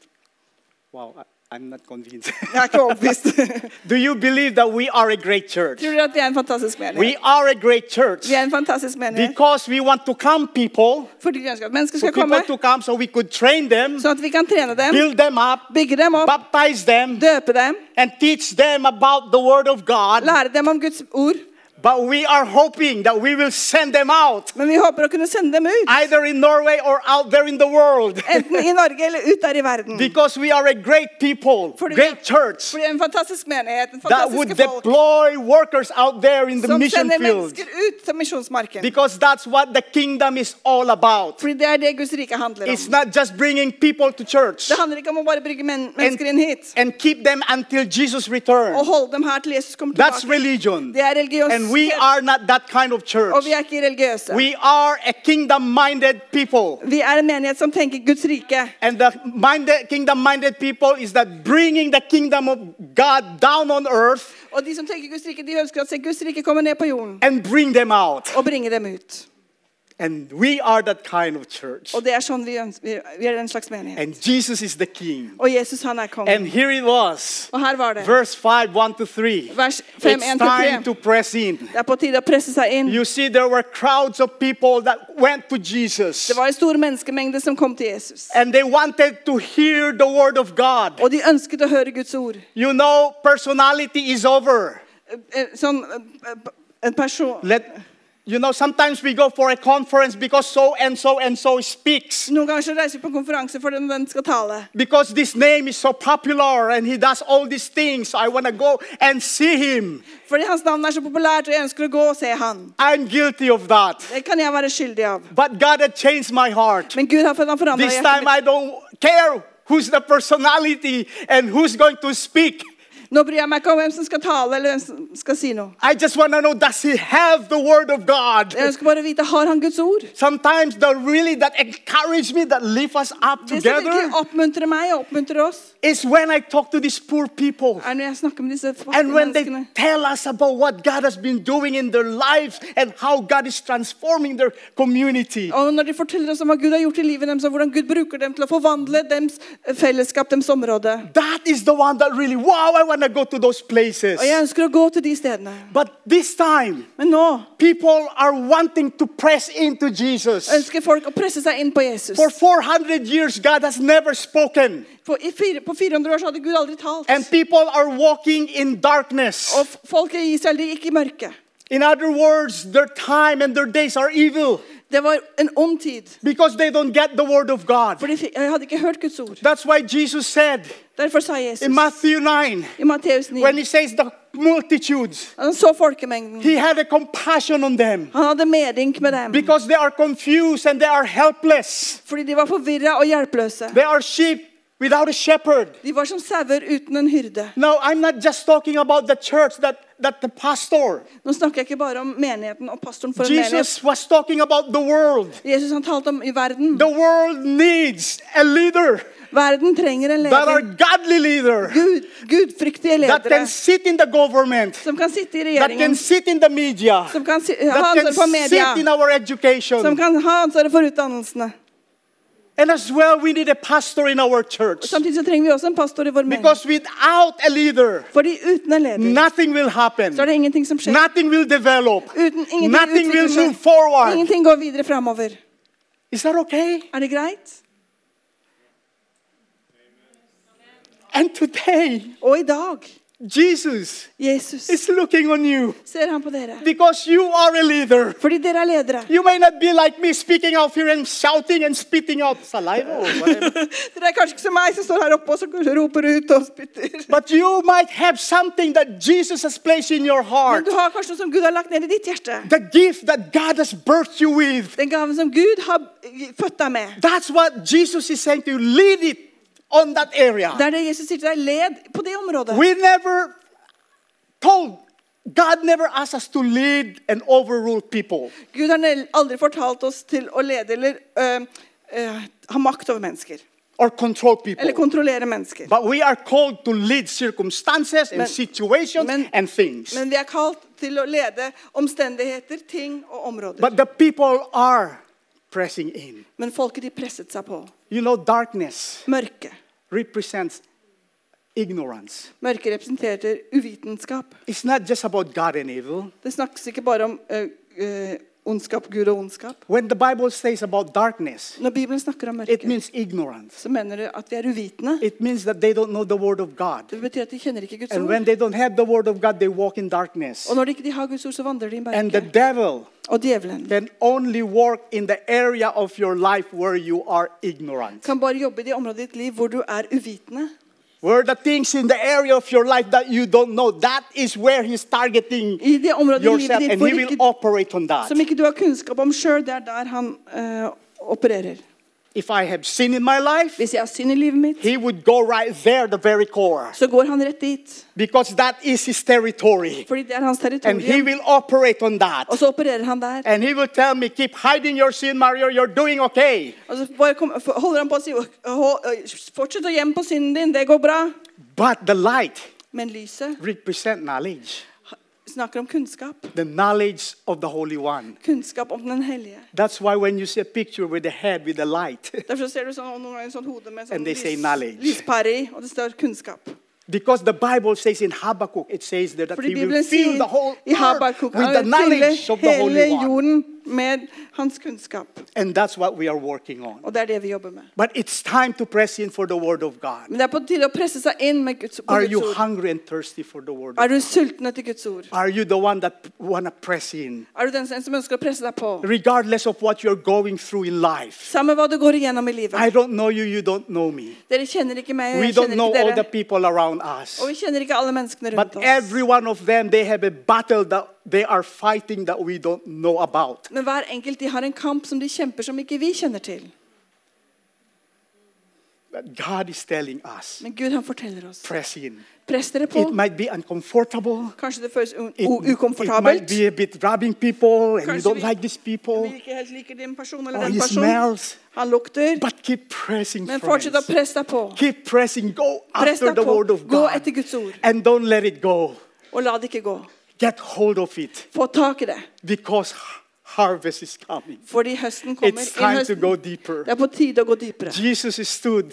[SPEAKER 2] Wow, I- I'm not convinced. [laughs]
[SPEAKER 3] Jeg er ikke overbevist. Tror
[SPEAKER 2] Do you believe that we are a great church?
[SPEAKER 3] dere at vi er en fantastisk
[SPEAKER 2] We
[SPEAKER 3] menighet?
[SPEAKER 2] are a great church
[SPEAKER 3] Vi er en fantastisk menighet
[SPEAKER 2] because we want to come people,
[SPEAKER 3] fordi vi ønsker at mennesker
[SPEAKER 2] for
[SPEAKER 3] skal
[SPEAKER 2] people
[SPEAKER 3] komme.
[SPEAKER 2] to come so we could train them,
[SPEAKER 3] Sånn at vi kan trene dem,
[SPEAKER 2] build them up,
[SPEAKER 3] bygge dem opp,
[SPEAKER 2] baptize them,
[SPEAKER 3] døpe dem,
[SPEAKER 2] and teach them about the Word of God.
[SPEAKER 3] lære dem om Guds ord.
[SPEAKER 2] But we are hoping that we will send them out,
[SPEAKER 3] Men vi håper å kunne sende dem ut,
[SPEAKER 2] either in Norway or out there in the world,
[SPEAKER 3] enten i Norge eller ut der i verden.
[SPEAKER 2] [laughs] because we are a great people,
[SPEAKER 3] Fordi vi-
[SPEAKER 2] great church
[SPEAKER 3] Fordi en fantastisk menighet, en
[SPEAKER 2] that would
[SPEAKER 3] fantastiske folk,
[SPEAKER 2] deploy workers out there in the
[SPEAKER 3] som
[SPEAKER 2] mission
[SPEAKER 3] sender
[SPEAKER 2] field.
[SPEAKER 3] mennesker ut til misjonsmarken.
[SPEAKER 2] Because that's what the kingdom is all about.
[SPEAKER 3] Fordi det er det Guds rike handler
[SPEAKER 2] It's
[SPEAKER 3] om.
[SPEAKER 2] not just bringing people to church.
[SPEAKER 3] Det handler ikke om å bare bringe men
[SPEAKER 2] and,
[SPEAKER 3] mennesker inn hit Oh,
[SPEAKER 2] and keep them until Jesus
[SPEAKER 3] og
[SPEAKER 2] returns.
[SPEAKER 3] holde dem her til Jesus kommer
[SPEAKER 2] That's
[SPEAKER 3] tilbake.
[SPEAKER 2] religion.
[SPEAKER 3] Det er
[SPEAKER 2] And we
[SPEAKER 3] religiøst.
[SPEAKER 2] are not that kind of
[SPEAKER 3] Og
[SPEAKER 2] church.
[SPEAKER 3] vi er ikke religiøse.
[SPEAKER 2] We are a kingdom minded people.
[SPEAKER 3] Vi er en menighet som tenker Guds rike.
[SPEAKER 2] And the minded, kingdom minded people is that bringing the kingdom of God down on earth
[SPEAKER 3] Og de som tenker Guds rike, de ønsker at se, Guds rike kommer ned på jorden
[SPEAKER 2] and bring them out.
[SPEAKER 3] og bringe dem ut.
[SPEAKER 2] And we are that kind of church.
[SPEAKER 3] Og det er sånn vi, øns- vi vi er en slags menighet.
[SPEAKER 2] And Jesus is the king.
[SPEAKER 3] Og Jesus, han er kongen.
[SPEAKER 2] And here it was.
[SPEAKER 3] Og her var det.
[SPEAKER 2] Verse 5, 1 to 3.
[SPEAKER 3] Vers Oh, fem,
[SPEAKER 2] It's
[SPEAKER 3] en til
[SPEAKER 2] time
[SPEAKER 3] tre.
[SPEAKER 2] to press in.
[SPEAKER 3] Det er på tide å presse seg inn.
[SPEAKER 2] You see, there were crowds of people that went to Jesus.
[SPEAKER 3] Det var en stor menneskemengde som kom til Jesus.
[SPEAKER 2] And they wanted to hear the word of God.
[SPEAKER 3] Og de ønsket å høre Guds ord.
[SPEAKER 2] You know, personality is over.
[SPEAKER 3] Eh, eh, Sånn eh, eh, en person
[SPEAKER 2] Let, you know, sometimes we go for a conference because so and so and so speaks.
[SPEAKER 3] Noen ganger så reiser vi på en konferanse for den den skal tale.
[SPEAKER 2] Because this name is so popular and he does all these things. I want to go and see him.
[SPEAKER 3] Fordi hans navn er så populært, og jeg ønsker å gå og se han.
[SPEAKER 2] I'm guilty of that.
[SPEAKER 3] Det kan jeg være skyldig av.
[SPEAKER 2] But God had changed my heart.
[SPEAKER 3] Men Gud har forandra
[SPEAKER 2] This
[SPEAKER 3] hjertet
[SPEAKER 2] time
[SPEAKER 3] mitt.
[SPEAKER 2] I don't care who's the personality and who's going to speak.
[SPEAKER 3] Nå bryr jeg meg ikke om hvem som skal tale, eller hvem som skal si noe.
[SPEAKER 2] I just want to know does he have the word of God?
[SPEAKER 3] Jeg ønsker bare å vite har han Guds ord.
[SPEAKER 2] Sometimes the really that encourage me, that lift us up
[SPEAKER 3] Det som
[SPEAKER 2] together,
[SPEAKER 3] virkelig oppmuntrer meg og oppmuntrer oss,
[SPEAKER 2] is when I talk to these poor people.
[SPEAKER 3] er når jeg snakker med disse fattige
[SPEAKER 2] And when they
[SPEAKER 3] menneskene.
[SPEAKER 2] tell us about what God has been doing in their lives and how God is transforming their community.
[SPEAKER 3] Og når de forteller oss om hva Gud har gjort i livet deres, og hvordan Gud bruker dem til å forvandle deres eh, fellesskap, deres område.
[SPEAKER 2] That is the one that really, wow, I want to go to those places.
[SPEAKER 3] Og jeg ønsker å gå til de stedene.
[SPEAKER 2] But this time,
[SPEAKER 3] Men nå
[SPEAKER 2] people are wanting to press into Jesus.
[SPEAKER 3] ønsker folk å presse seg inn på Jesus.
[SPEAKER 2] For 400 years, God has never spoken,
[SPEAKER 3] På, i fire, på 400 år så hadde Gud aldri talt.
[SPEAKER 2] and people are walking in darkness.
[SPEAKER 3] Og f- folk i Israel de gikk i mørket.
[SPEAKER 2] In other words, their time and their days are evil
[SPEAKER 3] Det var en ond tid.
[SPEAKER 2] because they don't get the word of God.
[SPEAKER 3] For de fikk, jeg hadde ikke hørt Guds ord.
[SPEAKER 2] That's why Jesus said
[SPEAKER 3] Derfor sa Jesus
[SPEAKER 2] in Matthew 9,
[SPEAKER 3] i Matteus 9
[SPEAKER 2] when he says the multitudes,
[SPEAKER 3] Han så folkemengden.
[SPEAKER 2] he had a compassion on them
[SPEAKER 3] Han hadde medynk med dem.
[SPEAKER 2] because they are confused and they are helpless.
[SPEAKER 3] Fordi de var forvirra og hjelpeløse.
[SPEAKER 2] They are sheep without a shepherd.
[SPEAKER 3] De var som sauer uten en hyrde.
[SPEAKER 2] Now, I'm not just talking about the church that, that the pastor,
[SPEAKER 3] Nå snakker jeg ikke bare om menigheten og pastoren for en menighet.
[SPEAKER 2] Jesus was talking about the world.
[SPEAKER 3] Jesus han talte om i verden.
[SPEAKER 2] The world needs a leader
[SPEAKER 3] Verden trenger en
[SPEAKER 2] that are
[SPEAKER 3] leder.
[SPEAKER 2] godly leader
[SPEAKER 3] Gud, gudfryktige
[SPEAKER 2] that
[SPEAKER 3] ledere
[SPEAKER 2] can sit in the government
[SPEAKER 3] som kan sitte i
[SPEAKER 2] that can
[SPEAKER 3] regjeringen,
[SPEAKER 2] sit in the media,
[SPEAKER 3] som kan si, ha
[SPEAKER 2] that
[SPEAKER 3] ansvaret for
[SPEAKER 2] can sit in
[SPEAKER 3] media,
[SPEAKER 2] our
[SPEAKER 3] som
[SPEAKER 2] education.
[SPEAKER 3] kan ha ansvaret for utdannelsene.
[SPEAKER 2] And as well, we need a pastor in our church.
[SPEAKER 3] Samtidig så trenger vi også en pastor i vår menighet.
[SPEAKER 2] Because without a leader,
[SPEAKER 3] Fordi uten en leder
[SPEAKER 2] nothing will happen,
[SPEAKER 3] så er det ingenting som skjer.
[SPEAKER 2] nothing will develop,
[SPEAKER 3] Uten,
[SPEAKER 2] nothing
[SPEAKER 3] ingenting
[SPEAKER 2] will
[SPEAKER 3] utvikler
[SPEAKER 2] move
[SPEAKER 3] seg.
[SPEAKER 2] forward.
[SPEAKER 3] Ingenting går videre framover.
[SPEAKER 2] Is that okay?
[SPEAKER 3] Er det greit?
[SPEAKER 2] And today,
[SPEAKER 3] Og i dag,
[SPEAKER 2] Jesus
[SPEAKER 3] Jesus,
[SPEAKER 2] is looking on you
[SPEAKER 3] ser han på dere.
[SPEAKER 2] because you are a leader.
[SPEAKER 3] Fordi dere er
[SPEAKER 2] [laughs]
[SPEAKER 3] ledere. [laughs]
[SPEAKER 2] You may not be like me speaking out here and shouting and spitting out saliva or
[SPEAKER 3] [laughs]
[SPEAKER 2] whatever,
[SPEAKER 3] Dere er kanskje ikke som meg som står her oppe og så roper ut og spytter.
[SPEAKER 2] but you might have something that Jesus has placed in your
[SPEAKER 3] Men
[SPEAKER 2] heart.
[SPEAKER 3] du har kanskje noe som Gud har lagt ned i ditt hjerte.
[SPEAKER 2] The gift that God has birthed you with.
[SPEAKER 3] Den gaven som Gud har født deg med.
[SPEAKER 2] That's what Jesus is saying to you. Lead it on that area.
[SPEAKER 3] Det er det Jesus sier til deg. Led på det området.
[SPEAKER 2] we never told, God never asked us to lead and overrule people.
[SPEAKER 3] Gud har nel- aldri fortalt oss til å lede eller øh, øh, ha makt over mennesker.
[SPEAKER 2] or control people.
[SPEAKER 3] Eller kontrollere mennesker.
[SPEAKER 2] but we are called to lead circumstances and
[SPEAKER 3] Men-
[SPEAKER 2] situations
[SPEAKER 3] men-
[SPEAKER 2] and things.
[SPEAKER 3] Men vi er kalt til å lede omstendigheter, ting og områder.
[SPEAKER 2] but the people are pressing in.
[SPEAKER 3] Men folket de presset seg på.
[SPEAKER 2] You know, darkness
[SPEAKER 3] Mørke.
[SPEAKER 2] represents ignorance.
[SPEAKER 3] Mørke representerer uvitenskap.
[SPEAKER 2] It's not just about God and evil.
[SPEAKER 3] Det snakkes ikke bare om øh, øh, ondskap, Gud og ondskap.
[SPEAKER 2] When the Bible says about darkness,
[SPEAKER 3] Når Bibelen snakker om
[SPEAKER 2] it
[SPEAKER 3] mørke,
[SPEAKER 2] means ignorance.
[SPEAKER 3] så mener du at vi er uvitende.
[SPEAKER 2] It means that they don't know the word of God.
[SPEAKER 3] Det betyr at de kjenner ikke Guds
[SPEAKER 2] And when
[SPEAKER 3] ord.
[SPEAKER 2] they don't have the word of God, they walk in darkness.
[SPEAKER 3] Og når de ikke de har Guds ord, så vandrer de i
[SPEAKER 2] And the
[SPEAKER 3] mørket.
[SPEAKER 2] devil
[SPEAKER 3] Og djevelen
[SPEAKER 2] can only work in the area of your life where you are ignorant.
[SPEAKER 3] kan bare jobbe i de områdene i ditt liv hvor du er uvitende.
[SPEAKER 2] Where the things in the area of your life that you don't know, that is where he's targeting
[SPEAKER 3] I de områdene i
[SPEAKER 2] yourself
[SPEAKER 3] livet ditt
[SPEAKER 2] and
[SPEAKER 3] hvor
[SPEAKER 2] he will
[SPEAKER 3] ikke,
[SPEAKER 2] operate on that.
[SPEAKER 3] som ikke du har kunnskap om sjøl, det er der han øh, opererer.
[SPEAKER 2] If I have sin in my life,
[SPEAKER 3] Hvis jeg har synd i livet mitt,
[SPEAKER 2] he would go right there, the very core,
[SPEAKER 3] så går han rett dit.
[SPEAKER 2] because that is his territory.
[SPEAKER 3] Fordi det er hans
[SPEAKER 2] And he
[SPEAKER 3] territorium.
[SPEAKER 2] will operate on that.
[SPEAKER 3] Og så opererer han der.
[SPEAKER 2] And he will tell me, keep hiding your sin, Mario, you're doing okay.
[SPEAKER 3] Og så bare kom, holder han på å si «Hold- øh, Fortsett å gjemme på synden din, det går bra.
[SPEAKER 2] But the light
[SPEAKER 3] Men lyset
[SPEAKER 2] represents knowledge,
[SPEAKER 3] snakker om kunnskap.
[SPEAKER 2] the knowledge of the Holy One.
[SPEAKER 3] Kunnskap om den hellige.
[SPEAKER 2] That's why when you see a picture with a head with a light, [laughs]
[SPEAKER 3] Derfor ser du sånn, noen ganger en sånn hode med sånn
[SPEAKER 2] And they say knowledge.
[SPEAKER 3] lyspære i, og det står kunnskap.
[SPEAKER 2] because the Bible says in Habakkuk, it says there that
[SPEAKER 3] Fordi
[SPEAKER 2] he will
[SPEAKER 3] Bibelen sier
[SPEAKER 2] fill the whole
[SPEAKER 3] i
[SPEAKER 2] earth
[SPEAKER 3] Habakuk
[SPEAKER 2] with
[SPEAKER 3] han
[SPEAKER 2] the
[SPEAKER 3] vil fylle
[SPEAKER 2] knowledge of the
[SPEAKER 3] hele
[SPEAKER 2] Holy One.
[SPEAKER 3] jorden med hans kunnskap.
[SPEAKER 2] And that's what we are working on.
[SPEAKER 3] Og det er det vi jobber med.
[SPEAKER 2] But it's time to press in for the Word of God.
[SPEAKER 3] Men det er på tide å presse seg inn med Guds, på
[SPEAKER 2] Are
[SPEAKER 3] Guds
[SPEAKER 2] you
[SPEAKER 3] ord.
[SPEAKER 2] hungry and thirsty for the Word?
[SPEAKER 3] Er du sulten etter Guds ord?
[SPEAKER 2] Are you the one that want to press in?
[SPEAKER 3] Er du den som ønsker å presse deg på?
[SPEAKER 2] Regardless of what you're going through in life.
[SPEAKER 3] Samme hva du går igjennom i
[SPEAKER 2] I
[SPEAKER 3] livet.
[SPEAKER 2] don't know you, you don't know me.
[SPEAKER 3] Dere kjenner ikke meg,
[SPEAKER 2] Eh,
[SPEAKER 3] og
[SPEAKER 2] We
[SPEAKER 3] jeg
[SPEAKER 2] don't
[SPEAKER 3] kjenner
[SPEAKER 2] know
[SPEAKER 3] ikke
[SPEAKER 2] all the
[SPEAKER 3] dere.
[SPEAKER 2] people around us.
[SPEAKER 3] Og vi kjenner ikke alle menneskene
[SPEAKER 2] But
[SPEAKER 3] rundt oss.
[SPEAKER 2] every one of them, they have a battle that they are fighting that we don't know about.
[SPEAKER 3] Men hver enkelt de har en kamp som de kjemper som ikke vi kjenner til.
[SPEAKER 2] But God is telling us,
[SPEAKER 3] Men Gud han forteller oss.
[SPEAKER 2] press in.
[SPEAKER 3] Press dere på.
[SPEAKER 2] It might be uncomfortable.
[SPEAKER 3] Kanskje det føles u-
[SPEAKER 2] It,
[SPEAKER 3] u-
[SPEAKER 2] it might
[SPEAKER 3] ukomfortabelt.
[SPEAKER 2] be a bit rubbing people and you
[SPEAKER 3] Kanskje
[SPEAKER 2] don't
[SPEAKER 3] vi-
[SPEAKER 2] like these people.
[SPEAKER 3] Vi ikke helt liker din person
[SPEAKER 2] Or
[SPEAKER 3] eller
[SPEAKER 2] he
[SPEAKER 3] den personen.
[SPEAKER 2] smells.
[SPEAKER 3] Han lukter.
[SPEAKER 2] But keep pressing,
[SPEAKER 3] Men
[SPEAKER 2] friends.
[SPEAKER 3] fortsett å presse deg på.
[SPEAKER 2] Keep pressing. Go
[SPEAKER 3] Press
[SPEAKER 2] after
[SPEAKER 3] deg
[SPEAKER 2] the
[SPEAKER 3] på.
[SPEAKER 2] word of
[SPEAKER 3] Gå
[SPEAKER 2] God.
[SPEAKER 3] etter Guds ord.
[SPEAKER 2] And don't let it go.
[SPEAKER 3] Og la det ikke gå.
[SPEAKER 2] Get hold of it
[SPEAKER 3] Få tak i det.
[SPEAKER 2] because har- harvest is coming.
[SPEAKER 3] Fordi høsten kommer.
[SPEAKER 2] It's
[SPEAKER 3] Inn
[SPEAKER 2] time to
[SPEAKER 3] høsten.
[SPEAKER 2] go deeper.
[SPEAKER 3] Det er på tide å gå dypere.
[SPEAKER 2] Jesus stood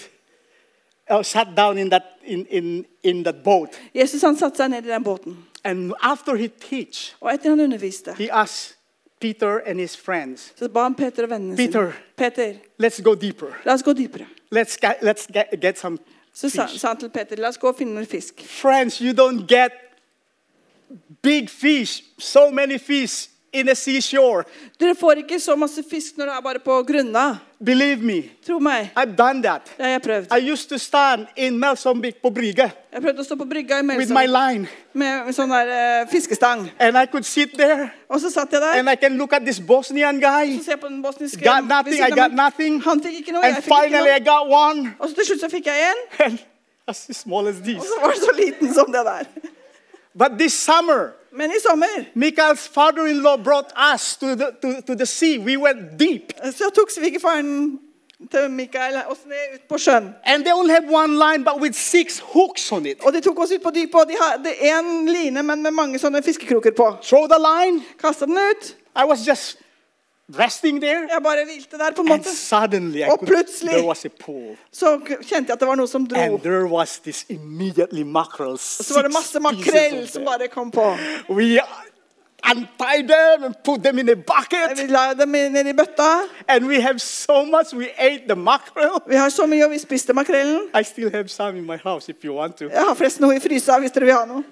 [SPEAKER 2] uh, sat down in that, in, in, in that boat.
[SPEAKER 3] Jesus han satte seg ned i den båten.
[SPEAKER 2] And after he teach,
[SPEAKER 3] Og etter han underviste,
[SPEAKER 2] he asked Peter and his friends,
[SPEAKER 3] så ba han Peter og vennene
[SPEAKER 2] Peter.
[SPEAKER 3] sine. Peter,
[SPEAKER 2] let's go deeper.
[SPEAKER 3] la oss gå dypere.
[SPEAKER 2] Let's, ga- let's get, get some
[SPEAKER 3] Så sa,
[SPEAKER 2] fish.
[SPEAKER 3] sa han til Peter, la oss gå og finne noen fisk.
[SPEAKER 2] Friends, you don't get big fish, so many fish in a seashore.
[SPEAKER 3] Dere får ikke så masse fisk når det er bare på grunna.
[SPEAKER 2] Believe me,
[SPEAKER 3] Tro meg.
[SPEAKER 2] I've done that.
[SPEAKER 3] Det har jeg prøvd.
[SPEAKER 2] I used to stand in Melsombic på brygge
[SPEAKER 3] Jeg prøvde å stå på brygga i
[SPEAKER 2] with my
[SPEAKER 3] Melsom
[SPEAKER 2] line.
[SPEAKER 3] med med sånn der eh, fiskestang.
[SPEAKER 2] And I could sit there
[SPEAKER 3] Og så satt jeg der
[SPEAKER 2] and I can look at this Bosnian guy.
[SPEAKER 3] og se på den bosniske
[SPEAKER 2] Got nothing, I got nothing.
[SPEAKER 3] Han fikk ikke noe,
[SPEAKER 2] And
[SPEAKER 3] jeg fikk ikke
[SPEAKER 2] finally I
[SPEAKER 3] noe.
[SPEAKER 2] got one.
[SPEAKER 3] Og så til slutt så fikk jeg en,
[SPEAKER 2] And [laughs] as small as
[SPEAKER 3] og
[SPEAKER 2] this.
[SPEAKER 3] så var den så liten som det der.
[SPEAKER 2] But this summer,
[SPEAKER 3] Men i sommer
[SPEAKER 2] Mikael's father-in-law brought us to the, to, to the sea. We went deep.
[SPEAKER 3] så tok svigerfaren til Mikael oss med ut på sjøen.
[SPEAKER 2] And they only have one line, but with six hooks on it.
[SPEAKER 3] Og de tok oss ut på dypet, og de hadde én line, men med mange sånne fiskekroker på.
[SPEAKER 2] Throw the line.
[SPEAKER 3] Kasta den ut.
[SPEAKER 2] I was just resting there.
[SPEAKER 3] Jeg bare hvilte der, på en
[SPEAKER 2] And
[SPEAKER 3] måte.
[SPEAKER 2] suddenly I
[SPEAKER 3] Och
[SPEAKER 2] could,
[SPEAKER 3] plötsligt-
[SPEAKER 2] there was a pool.
[SPEAKER 3] Så k- kjente jeg at det var noe som dro.
[SPEAKER 2] And there was this immediately mackerel.
[SPEAKER 3] Og så var det
[SPEAKER 2] six
[SPEAKER 3] masse makrell
[SPEAKER 2] pieces
[SPEAKER 3] som
[SPEAKER 2] of them.
[SPEAKER 3] bare kom på.
[SPEAKER 2] We uh, untied them and put them in a
[SPEAKER 3] Vi
[SPEAKER 2] bucket.
[SPEAKER 3] la dem i- ned i bøtta.
[SPEAKER 2] And we have so much. We ate the mackerel.
[SPEAKER 3] Vi har så mye, og vi spiste makrellen.
[SPEAKER 2] I still have some in my house if you want to.
[SPEAKER 3] Jeg har forresten noe i frysa hvis dere vil ha noe.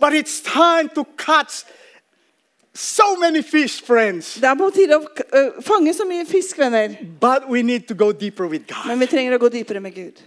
[SPEAKER 2] But it's time to catch so many fish, friends.
[SPEAKER 3] Det er på tide å k- øh, fange så mye fisk, venner.
[SPEAKER 2] But we need to go deeper with God.
[SPEAKER 3] Men vi trenger å gå dypere med Gud.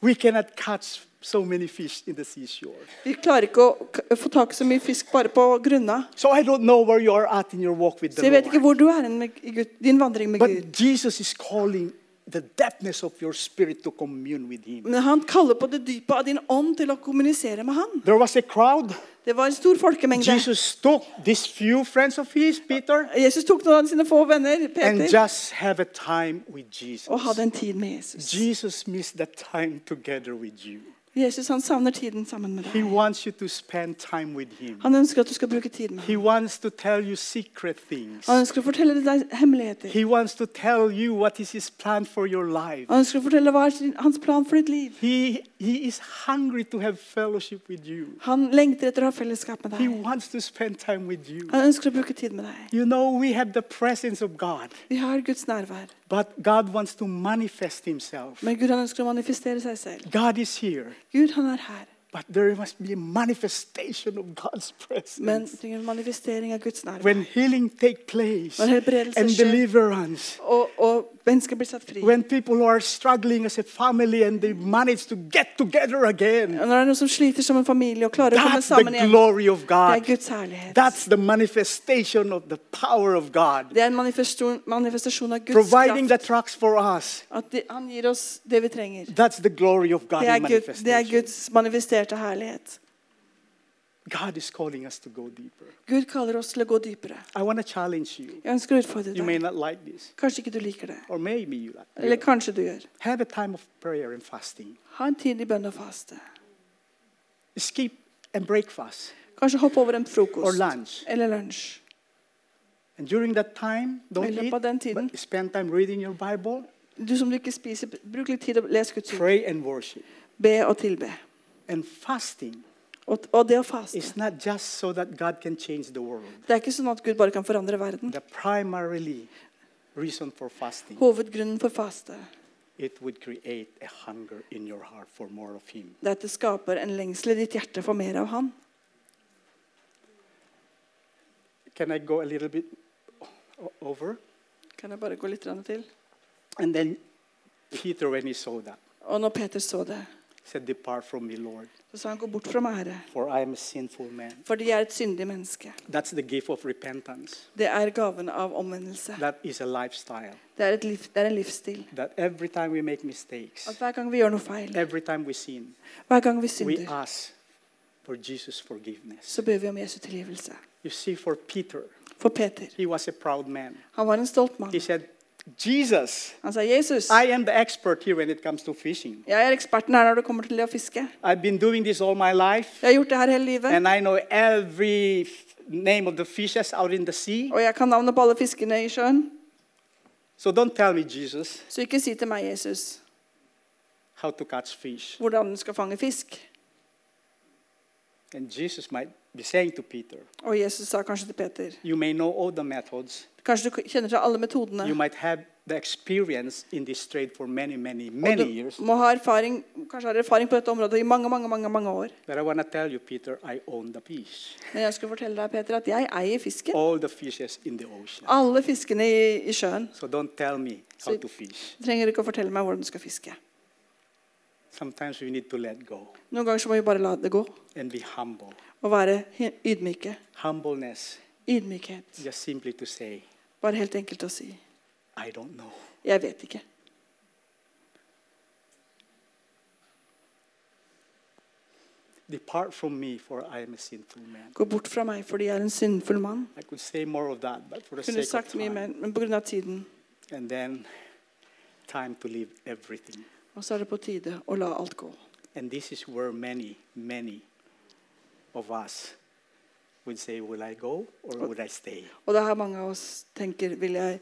[SPEAKER 2] We cannot catch so many fish in the seashore.
[SPEAKER 3] Vi klarer ikke å k- få tak i så mye fisk bare på grunna.
[SPEAKER 2] So I don't know where you are at in your walk with
[SPEAKER 3] Så
[SPEAKER 2] the
[SPEAKER 3] jeg vet ikke
[SPEAKER 2] Lord.
[SPEAKER 3] hvor du er hen med i Gud, din vandring med Gud.
[SPEAKER 2] But Jesus is calling the depthness of your spirit to commune with Him.
[SPEAKER 3] Men han kaller på det dypet av din ånd til å kommunisere med han.
[SPEAKER 2] There was a crowd.
[SPEAKER 3] Det var en stor folkemengde.
[SPEAKER 2] Jesus took these few friends of his, Peter,
[SPEAKER 3] Jesus tok noen av sine få venner,
[SPEAKER 2] and
[SPEAKER 3] Peter,
[SPEAKER 2] just have a time with Jesus.
[SPEAKER 3] og hadde en tid med Jesus.
[SPEAKER 2] Jesus missed that time together with you.
[SPEAKER 3] Jesus han savner tiden sammen med
[SPEAKER 2] He
[SPEAKER 3] deg.
[SPEAKER 2] wants you to spend time with him.
[SPEAKER 3] Han ønsker at du skal bruke tid med ham.
[SPEAKER 2] He wants to tell you secret things.
[SPEAKER 3] Han ønsker å fortelle deg hemmeligheter.
[SPEAKER 2] He wants to tell you what is his plan for your life.
[SPEAKER 3] Han ønsker å fortelle hva er sin- hans plan for ditt liv.
[SPEAKER 2] He, he is hungry to have fellowship with you.
[SPEAKER 3] Han lengter etter å ha fellesskap med
[SPEAKER 2] He
[SPEAKER 3] deg.
[SPEAKER 2] wants to spend time with you.
[SPEAKER 3] Han ønsker å bruke tid med deg.
[SPEAKER 2] You know, we have the presence of God,
[SPEAKER 3] Vi har Guds nærvær,
[SPEAKER 2] but God wants to manifest himself.
[SPEAKER 3] men Gud han ønsker å manifestere seg selv.
[SPEAKER 2] God is here,
[SPEAKER 3] Gud han er her,
[SPEAKER 2] but there must be a manifestation of God's
[SPEAKER 3] men
[SPEAKER 2] presence.
[SPEAKER 3] det trenger en manifestering av Guds nærvær.
[SPEAKER 2] When healing take place
[SPEAKER 3] När helbredelse
[SPEAKER 2] and
[SPEAKER 3] sker.
[SPEAKER 2] deliverance,
[SPEAKER 3] Og, og mennesker blir satt fri. Og
[SPEAKER 2] when people are struggling as a family and they manage to get together again,
[SPEAKER 3] når det er noen som sliter som en familie og klarer å komme
[SPEAKER 2] that's the
[SPEAKER 3] sammen igjen,
[SPEAKER 2] glory of
[SPEAKER 3] det er
[SPEAKER 2] God.
[SPEAKER 3] Guds herlighet.
[SPEAKER 2] That's the manifestation of the power of God,
[SPEAKER 3] Det er en manifestasjon, manifestasjon av Guds
[SPEAKER 2] providing the
[SPEAKER 3] kraft.
[SPEAKER 2] tracks for us.
[SPEAKER 3] At de, han gir oss det vi trenger.
[SPEAKER 2] That's the glory of God
[SPEAKER 3] Det er,
[SPEAKER 2] in
[SPEAKER 3] Gud, det er
[SPEAKER 2] manifestation.
[SPEAKER 3] Guds manifesterte herlighet.
[SPEAKER 2] God is calling us to go deeper.
[SPEAKER 3] Gud kaller oss til å gå dypere.
[SPEAKER 2] I want to challenge you.
[SPEAKER 3] Jeg ønsker å utfordre
[SPEAKER 2] You may
[SPEAKER 3] deg.
[SPEAKER 2] not like this,
[SPEAKER 3] Kanskje ikke du liker det.
[SPEAKER 2] or maybe you like
[SPEAKER 3] Eller kanskje du gjør.
[SPEAKER 2] Have a time of prayer and fasting.
[SPEAKER 3] Ha en tid i bønn og faste.
[SPEAKER 2] Skip and breakfast.
[SPEAKER 3] Kanskje hopp over en frokost.
[SPEAKER 2] Or lunch.
[SPEAKER 3] Eller lunsj.
[SPEAKER 2] And during that time, don't
[SPEAKER 3] Eller
[SPEAKER 2] eat,
[SPEAKER 3] på den tiden.
[SPEAKER 2] but spend time reading your Bible,
[SPEAKER 3] Du som du ikke spiser, bruk litt tid og les Guds ord.
[SPEAKER 2] pray and worship.
[SPEAKER 3] Be og tilbe.
[SPEAKER 2] And fasting
[SPEAKER 3] Og, og det å faste.
[SPEAKER 2] is not just so that God can change the world.
[SPEAKER 3] Det er ikke sånn at Gud bare kan forandre verden.
[SPEAKER 2] The primarily reason for fasting,
[SPEAKER 3] Hovedgrunnen for faste
[SPEAKER 2] it would create a hunger in your heart for more of Him.
[SPEAKER 3] det er at det skaper en lengsel i ditt hjerte for mer av Han.
[SPEAKER 2] Can I go a little bit o- over?
[SPEAKER 3] Kan jeg bare gå litt grann til?
[SPEAKER 2] And then Peter, when he saw that,
[SPEAKER 3] Og når Peter så det,
[SPEAKER 2] said, Depart from me, Lord,
[SPEAKER 3] så sa han gå bort fra meg, Herre,
[SPEAKER 2] for I am a sinful man.
[SPEAKER 3] for de er et syndig menneske.
[SPEAKER 2] That's the gift of repentance.
[SPEAKER 3] Det er gaven av omvendelse.
[SPEAKER 2] That is a lifestyle.
[SPEAKER 3] Det er, et liv, det er en livsstil.
[SPEAKER 2] That every time we make mistakes,
[SPEAKER 3] At hver gang vi gjør noe feil,
[SPEAKER 2] every time we sin,
[SPEAKER 3] hver gang vi
[SPEAKER 2] we
[SPEAKER 3] synder,
[SPEAKER 2] ask for Jesus' forgiveness.
[SPEAKER 3] så ber vi om Jesu tilgivelse.
[SPEAKER 2] You see, for Peter,
[SPEAKER 3] For Peter,
[SPEAKER 2] he was a proud man.
[SPEAKER 3] han var en stolt mann.
[SPEAKER 2] He said, Jesus,
[SPEAKER 3] Han sa, 'Jesus,
[SPEAKER 2] I am the expert here when it comes to fishing.
[SPEAKER 3] jeg er eksperten her når det kommer til det å fiske.'
[SPEAKER 2] I've been doing this all my life,
[SPEAKER 3] 'Jeg har gjort det her hele livet,
[SPEAKER 2] and I know every f- name of the fishes out in the sea.
[SPEAKER 3] og jeg kan navnet på alle fiskene i sjøen.'
[SPEAKER 2] So don't tell me, Jesus,
[SPEAKER 3] Så ikke si til meg, Jesus,
[SPEAKER 2] how to catch fish.
[SPEAKER 3] hvordan du skal fange fisk.
[SPEAKER 2] And Jesus might be saying to Peter,
[SPEAKER 3] Og Jesus sa kanskje til Peter
[SPEAKER 2] You may know all the methods,
[SPEAKER 3] Kanskje du kjenner til alle metodene.
[SPEAKER 2] you might have the experience in this trade for many, many,
[SPEAKER 3] Og
[SPEAKER 2] many years.
[SPEAKER 3] du må ha erfaring, kanskje har erfaring på dette området i mange mange, mange, mange år.
[SPEAKER 2] But I want to tell you, Peter, I own the fish.
[SPEAKER 3] Men jeg skulle fortelle deg, Peter, at jeg eier fisken.
[SPEAKER 2] All the fishes in the ocean.
[SPEAKER 3] Alle fiskene i, i sjøen.
[SPEAKER 2] So don't tell me how
[SPEAKER 3] So-
[SPEAKER 2] to fish.
[SPEAKER 3] Du trenger ikke å fortelle meg hvordan du skal fiske.
[SPEAKER 2] Sometimes we need to let go
[SPEAKER 3] Noen ganger så må vi bare la det gå
[SPEAKER 2] and be humble.
[SPEAKER 3] og være hy- ydmyke.
[SPEAKER 2] Humbleness,
[SPEAKER 3] Ydmykhet.
[SPEAKER 2] just simply to say,
[SPEAKER 3] Bare helt enkelt å si
[SPEAKER 2] I don't know.
[SPEAKER 3] 'jeg vet ikke'.
[SPEAKER 2] Depart from me, for I am a sinful man.
[SPEAKER 3] Gå bort fra meg fordi jeg er en syndfull mann.
[SPEAKER 2] I could say more of that, but for the
[SPEAKER 3] Kunne
[SPEAKER 2] sake of
[SPEAKER 3] sagt mye
[SPEAKER 2] time.
[SPEAKER 3] mer, men pga. tiden.
[SPEAKER 2] And then time to leave everything.
[SPEAKER 3] Og så er det på tide å la alt gå.
[SPEAKER 2] And this is where many, many of us would say, Will I go or would I stay?
[SPEAKER 3] Og det er her mange av oss tenker vil jeg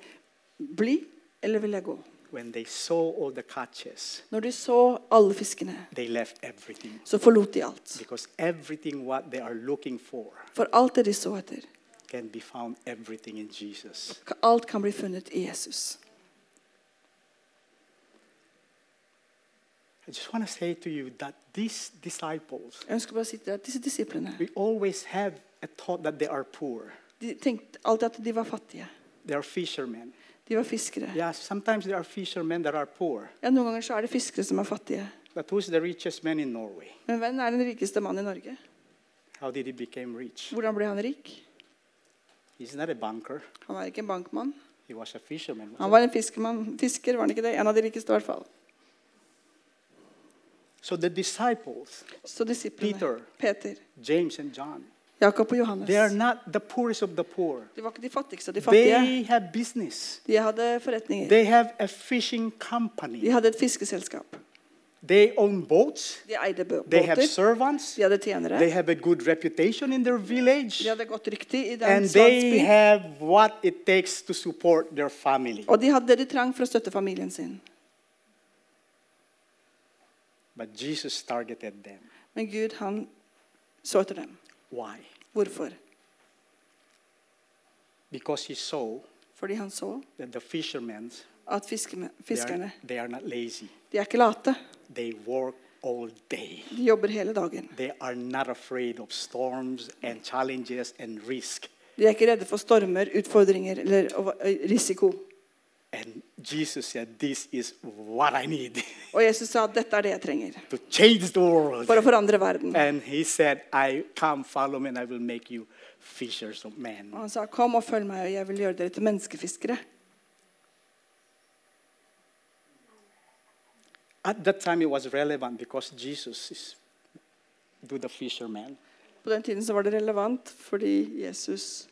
[SPEAKER 3] bli, eller vil jeg gå?
[SPEAKER 2] When they saw all the catches,
[SPEAKER 3] Når de så alle fiskene,
[SPEAKER 2] they left everything.
[SPEAKER 3] så forlot de alt.
[SPEAKER 2] Because everything what they are looking for
[SPEAKER 3] For alt det de så etter,
[SPEAKER 2] can be found everything in Jesus.
[SPEAKER 3] ka- alt kan bli funnet i Jesus.
[SPEAKER 2] I just want to say to you that these disciples,
[SPEAKER 3] Jeg ønsker bare å si til deg at disse disiplene
[SPEAKER 2] we always have a thought that they are poor.
[SPEAKER 3] de tenkte alltid at de var fattige.
[SPEAKER 2] They are fishermen.
[SPEAKER 3] De var fiskere.
[SPEAKER 2] Yeah, sometimes there are fishermen that are poor.
[SPEAKER 3] Ja, Noen ganger så er det fiskere som er fattige.
[SPEAKER 2] But who's the richest man in Norway?
[SPEAKER 3] Men hvem er den rikeste mannen i Norge?
[SPEAKER 2] How did he become rich?
[SPEAKER 3] Hvordan ble han rik?
[SPEAKER 2] He's not a banker.
[SPEAKER 3] Han er ikke en bankmann.
[SPEAKER 2] He was a fisherman. wasn't
[SPEAKER 3] Han var en fiskemann. fisker, var han ikke det? En av de rikeste, i hvert fall.
[SPEAKER 2] he? So the disciples,
[SPEAKER 3] Så disiplene
[SPEAKER 2] Peter.
[SPEAKER 3] Peter,
[SPEAKER 2] James and John,
[SPEAKER 3] Jakob og Johannes.
[SPEAKER 2] they are not the poorest of the poor.
[SPEAKER 3] De var ikke de fattigste av de fattige.
[SPEAKER 2] They have business.
[SPEAKER 3] De hadde forretninger.
[SPEAKER 2] They have a fishing
[SPEAKER 3] De
[SPEAKER 2] company.
[SPEAKER 3] hadde et fiskeselskap.
[SPEAKER 2] They own boats.
[SPEAKER 3] De eide bø-
[SPEAKER 2] They have
[SPEAKER 3] båter.
[SPEAKER 2] servants.
[SPEAKER 3] De hadde
[SPEAKER 2] They
[SPEAKER 3] tjenere.
[SPEAKER 2] have a good reputation in their village.
[SPEAKER 3] De hadde godt rykte i
[SPEAKER 2] And
[SPEAKER 3] deres
[SPEAKER 2] they
[SPEAKER 3] landsby.
[SPEAKER 2] have what it takes to support their family.
[SPEAKER 3] Og de hadde det de trang for å støtte familien sin.
[SPEAKER 2] But Jesus targeted them.
[SPEAKER 3] Men Gud, han så etter dem.
[SPEAKER 2] Why?
[SPEAKER 3] Hvorfor?
[SPEAKER 2] Because he saw
[SPEAKER 3] Fordi han så
[SPEAKER 2] that the fishermen,
[SPEAKER 3] at
[SPEAKER 2] they
[SPEAKER 3] fiskeme-
[SPEAKER 2] are,
[SPEAKER 3] fiskerne
[SPEAKER 2] they are not lazy.
[SPEAKER 3] De er ikke late.
[SPEAKER 2] They work all day.
[SPEAKER 3] De jobber hele dagen.
[SPEAKER 2] They are not afraid of storms and challenges and risk.
[SPEAKER 3] De er ikke redde for stormer, utfordringer eller å- risiko.
[SPEAKER 2] And Jesus said, This is what I need [laughs]
[SPEAKER 3] Og Jesus sa at dette er det jeg trenger
[SPEAKER 2] to change the world.
[SPEAKER 3] for å forandre verden.
[SPEAKER 2] And he said, I come, follow me, and I will make you fishers of men.
[SPEAKER 3] Og han sa, 'Kom og følg meg, og jeg vil gjøre dere til menneskefiskere'.
[SPEAKER 2] At that time, it was relevant because Jesus is do the fisherman.
[SPEAKER 3] På den tiden så var det relevant fordi Jesus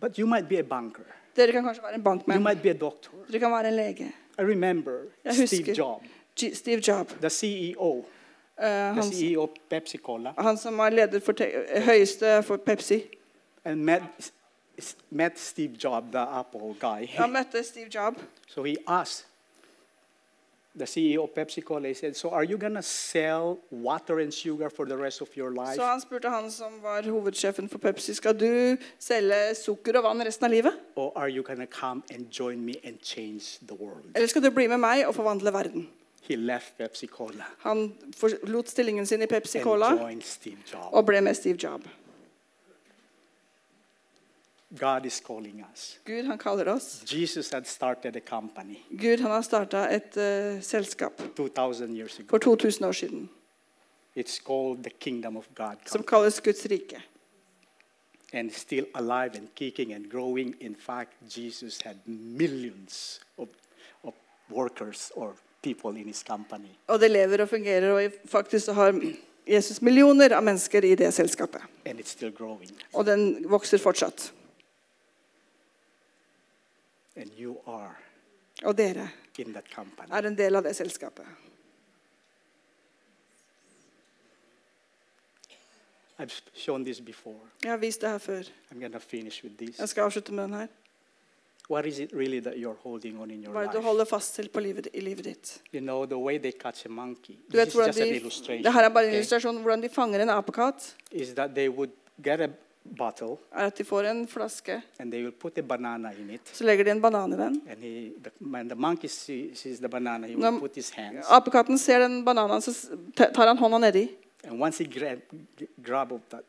[SPEAKER 2] But you might be a banker.
[SPEAKER 3] Dere kan kanskje være en
[SPEAKER 2] You
[SPEAKER 3] bankmann.
[SPEAKER 2] might be a doctor.
[SPEAKER 3] Dere kan være en lege.
[SPEAKER 2] I remember
[SPEAKER 3] Jeg
[SPEAKER 2] Steve
[SPEAKER 3] husker
[SPEAKER 2] Jobs,
[SPEAKER 3] G Steve Job.
[SPEAKER 2] the CEO,
[SPEAKER 3] eh,
[SPEAKER 2] the
[SPEAKER 3] han,
[SPEAKER 2] CEO of Pepsi Cola,
[SPEAKER 3] han som var leder for te høyeste for Pepsi.
[SPEAKER 2] and met, s- met Steve Jobs, the Apple guy.
[SPEAKER 3] Han møtte Steve Job.
[SPEAKER 2] [laughs] So he asked the CEO of Pepsi Cola, he said, So are you going to sell water and sugar for the rest of your life?
[SPEAKER 3] Så han spurte han som var hovedsjefen for Pepsi, skal du selge sukker og vann resten av livet?
[SPEAKER 2] or are you going to come and join me and change the world?
[SPEAKER 3] Eller skal du bli med meg og forvandle verden?
[SPEAKER 2] He left Pepsi Cola
[SPEAKER 3] Han forlot stillingen sin i Pepsi
[SPEAKER 2] and
[SPEAKER 3] Cola
[SPEAKER 2] joined Steve Jobs.
[SPEAKER 3] og ble med Steve Job.
[SPEAKER 2] God is calling us.
[SPEAKER 3] Gud, han kaller oss.
[SPEAKER 2] Jesus had started a company
[SPEAKER 3] Gud, han har starta et eh, selskap
[SPEAKER 2] 2,000 years ago.
[SPEAKER 3] for 2000 år siden
[SPEAKER 2] It's called the Kingdom of God,
[SPEAKER 3] som kalles Guds rike.
[SPEAKER 2] and still alive and kicking and growing. In fact, Jesus had millions of, of workers or people in his company.
[SPEAKER 3] Og det lever og fungerer, og i- faktisk så har Jesus millioner av mennesker i det selskapet.
[SPEAKER 2] and it's still growing.
[SPEAKER 3] Og den vokser fortsatt.
[SPEAKER 2] And you are
[SPEAKER 3] Og dere
[SPEAKER 2] in that company.
[SPEAKER 3] er en del av det selskapet.
[SPEAKER 2] I've shown this before.
[SPEAKER 3] Jeg har vist det her før.
[SPEAKER 2] I'm going to finish with this.
[SPEAKER 3] Jeg skal avslutte med den her.
[SPEAKER 2] What is it really that you're holding on in your
[SPEAKER 3] Hva er det du
[SPEAKER 2] life?
[SPEAKER 3] holder fast til på livet, i livet ditt?
[SPEAKER 2] You know, the way they catch a monkey,
[SPEAKER 3] Du vet
[SPEAKER 2] this is
[SPEAKER 3] hvordan
[SPEAKER 2] just an
[SPEAKER 3] de,
[SPEAKER 2] illustration,
[SPEAKER 3] det her er bare en
[SPEAKER 2] okay,
[SPEAKER 3] illustrasjon om hvordan de fanger en apekatt.
[SPEAKER 2] is that they would get a bottle
[SPEAKER 3] er at de får en flaske,
[SPEAKER 2] and they will put a banana in it.
[SPEAKER 3] så legger de en banan i den.
[SPEAKER 2] And he, the, when the monkey see, sees the banana, he will
[SPEAKER 3] Nam-
[SPEAKER 2] put his hands.
[SPEAKER 3] Apekatten ser den bananen, så s- ta- tar han hånda nedi.
[SPEAKER 2] And once he grab, grab up that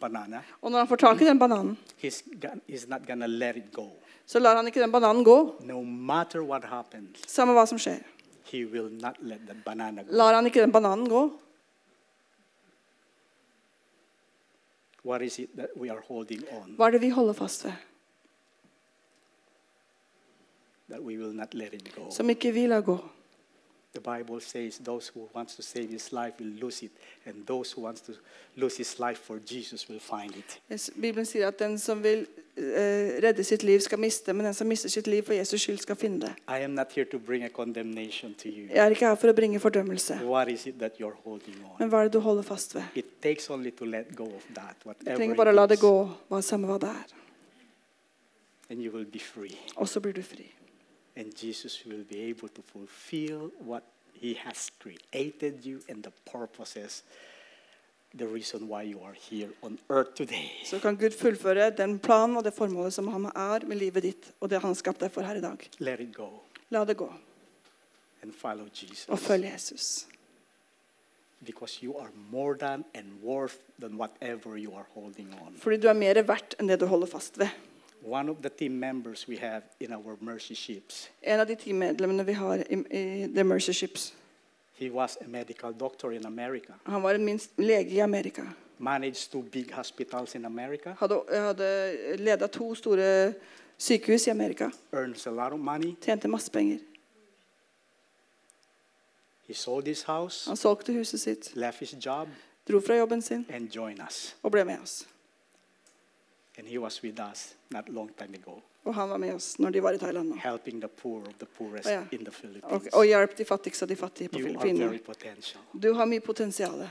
[SPEAKER 2] banana,
[SPEAKER 3] Og når han får tak i den bananen,
[SPEAKER 2] he's, gon- he's not going to let it go.
[SPEAKER 3] så lar han ikke den bananen gå.
[SPEAKER 2] No matter what happens,
[SPEAKER 3] Samme hva som skjer.
[SPEAKER 2] he will not let the banana go.
[SPEAKER 3] Lar han ikke den bananen gå?
[SPEAKER 2] What is it that we are holding on
[SPEAKER 3] Hva er det vi holder fast ved,
[SPEAKER 2] that we will not let it go?
[SPEAKER 3] som ikke vi lar gå?
[SPEAKER 2] The Bible says those who wants to save his life will lose it, and those who wants to lose his life for Jesus will find it.
[SPEAKER 3] Yes, Bibelen sier at den som vil eh, redde sitt liv, skal miste, men den som mister sitt liv for Jesus skyld, skal finne det.
[SPEAKER 2] I am not here to bring a condemnation to you.
[SPEAKER 3] Jeg er ikke her for å bringe fordømmelse,
[SPEAKER 2] What is it that you're holding on?
[SPEAKER 3] men hva er det du holder fast ved?
[SPEAKER 2] It takes only to let go of that,
[SPEAKER 3] Du
[SPEAKER 2] whatever
[SPEAKER 3] trenger bare å la
[SPEAKER 2] it
[SPEAKER 3] det
[SPEAKER 2] is,
[SPEAKER 3] gå, hva samme hva det er.
[SPEAKER 2] and you will be free.
[SPEAKER 3] Og så blir du fri.
[SPEAKER 2] And Jesus will be able to fulfill what He has created you and the purposes, the reason why you are here on earth today.
[SPEAKER 3] Så kan Gud fullføre den planen og det formålet som han er med livet ditt, og det han har skapt deg for her i dag.
[SPEAKER 2] Let it go
[SPEAKER 3] La det gå,
[SPEAKER 2] and follow Jesus.
[SPEAKER 3] og følg Jesus.
[SPEAKER 2] Because you are more than and worth than whatever you are holding on.
[SPEAKER 3] Fordi du er mer verdt enn det du holder fast ved.
[SPEAKER 2] One of the team members we have in our mercy ships,
[SPEAKER 3] En av de teammedlemmene vi har i, i The Mercy Ships,
[SPEAKER 2] he was a medical doctor in America,
[SPEAKER 3] han var en minst lege i Amerika.
[SPEAKER 2] managed two big hospitals in America,
[SPEAKER 3] Hadde, hadde leda to store sykehus i Amerika.
[SPEAKER 2] earns a lot of money.
[SPEAKER 3] Tjente masse penger.
[SPEAKER 2] He sold his house,
[SPEAKER 3] Han solgte huset sitt,
[SPEAKER 2] left his job,
[SPEAKER 3] dro fra jobben sin
[SPEAKER 2] and joined us.
[SPEAKER 3] og ble med oss.
[SPEAKER 2] And he was with us not long time ago,
[SPEAKER 3] Og han var med oss når de var i Thailand nå.
[SPEAKER 2] helping the poor of the poorest
[SPEAKER 3] Oh, yeah.
[SPEAKER 2] in the Philippines.
[SPEAKER 3] Og, og hjalp de fattigste av de fattige på
[SPEAKER 2] You are
[SPEAKER 3] Filippinene.
[SPEAKER 2] very potential.
[SPEAKER 3] Du har mye potensial.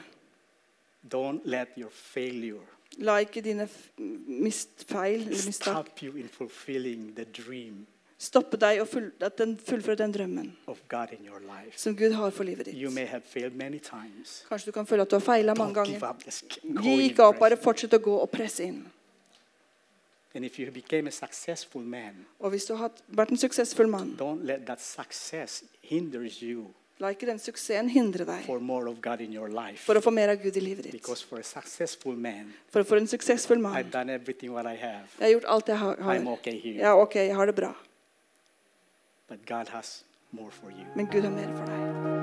[SPEAKER 2] Don't let your failure
[SPEAKER 3] La ikke dine f- mist feil eller mistak
[SPEAKER 2] stop you in fulfilling the dream
[SPEAKER 3] stoppe deg og full, at den fullfører den drømmen
[SPEAKER 2] of God in your life.
[SPEAKER 3] som Gud har for livet
[SPEAKER 2] You
[SPEAKER 3] ditt.
[SPEAKER 2] may have failed many times.
[SPEAKER 3] Kanskje du kan føle at du har feila mange
[SPEAKER 2] Don't give
[SPEAKER 3] ganger.
[SPEAKER 2] up. Just keep
[SPEAKER 3] Gi
[SPEAKER 2] going
[SPEAKER 3] ikke opp,
[SPEAKER 2] press.
[SPEAKER 3] bare fortsett å gå og presse inn.
[SPEAKER 2] And if you became a successful man,
[SPEAKER 3] Og hvis du har hatt- vært en suksessfull mann,
[SPEAKER 2] don't let that success hinders you
[SPEAKER 3] la ikke den suksessen hindre deg
[SPEAKER 2] for more of God in your life.
[SPEAKER 3] for å få mer av Gud i livet ditt.
[SPEAKER 2] Because for a successful man,
[SPEAKER 3] For for en suksessfull
[SPEAKER 2] I've
[SPEAKER 3] mann.
[SPEAKER 2] done everything what I have.
[SPEAKER 3] Jeg har gjort alt jeg har.
[SPEAKER 2] I'm
[SPEAKER 3] har.
[SPEAKER 2] okay here.
[SPEAKER 3] Ja, ok, jeg har det bra.
[SPEAKER 2] But God has more for you.
[SPEAKER 3] Men Gud har mer for deg.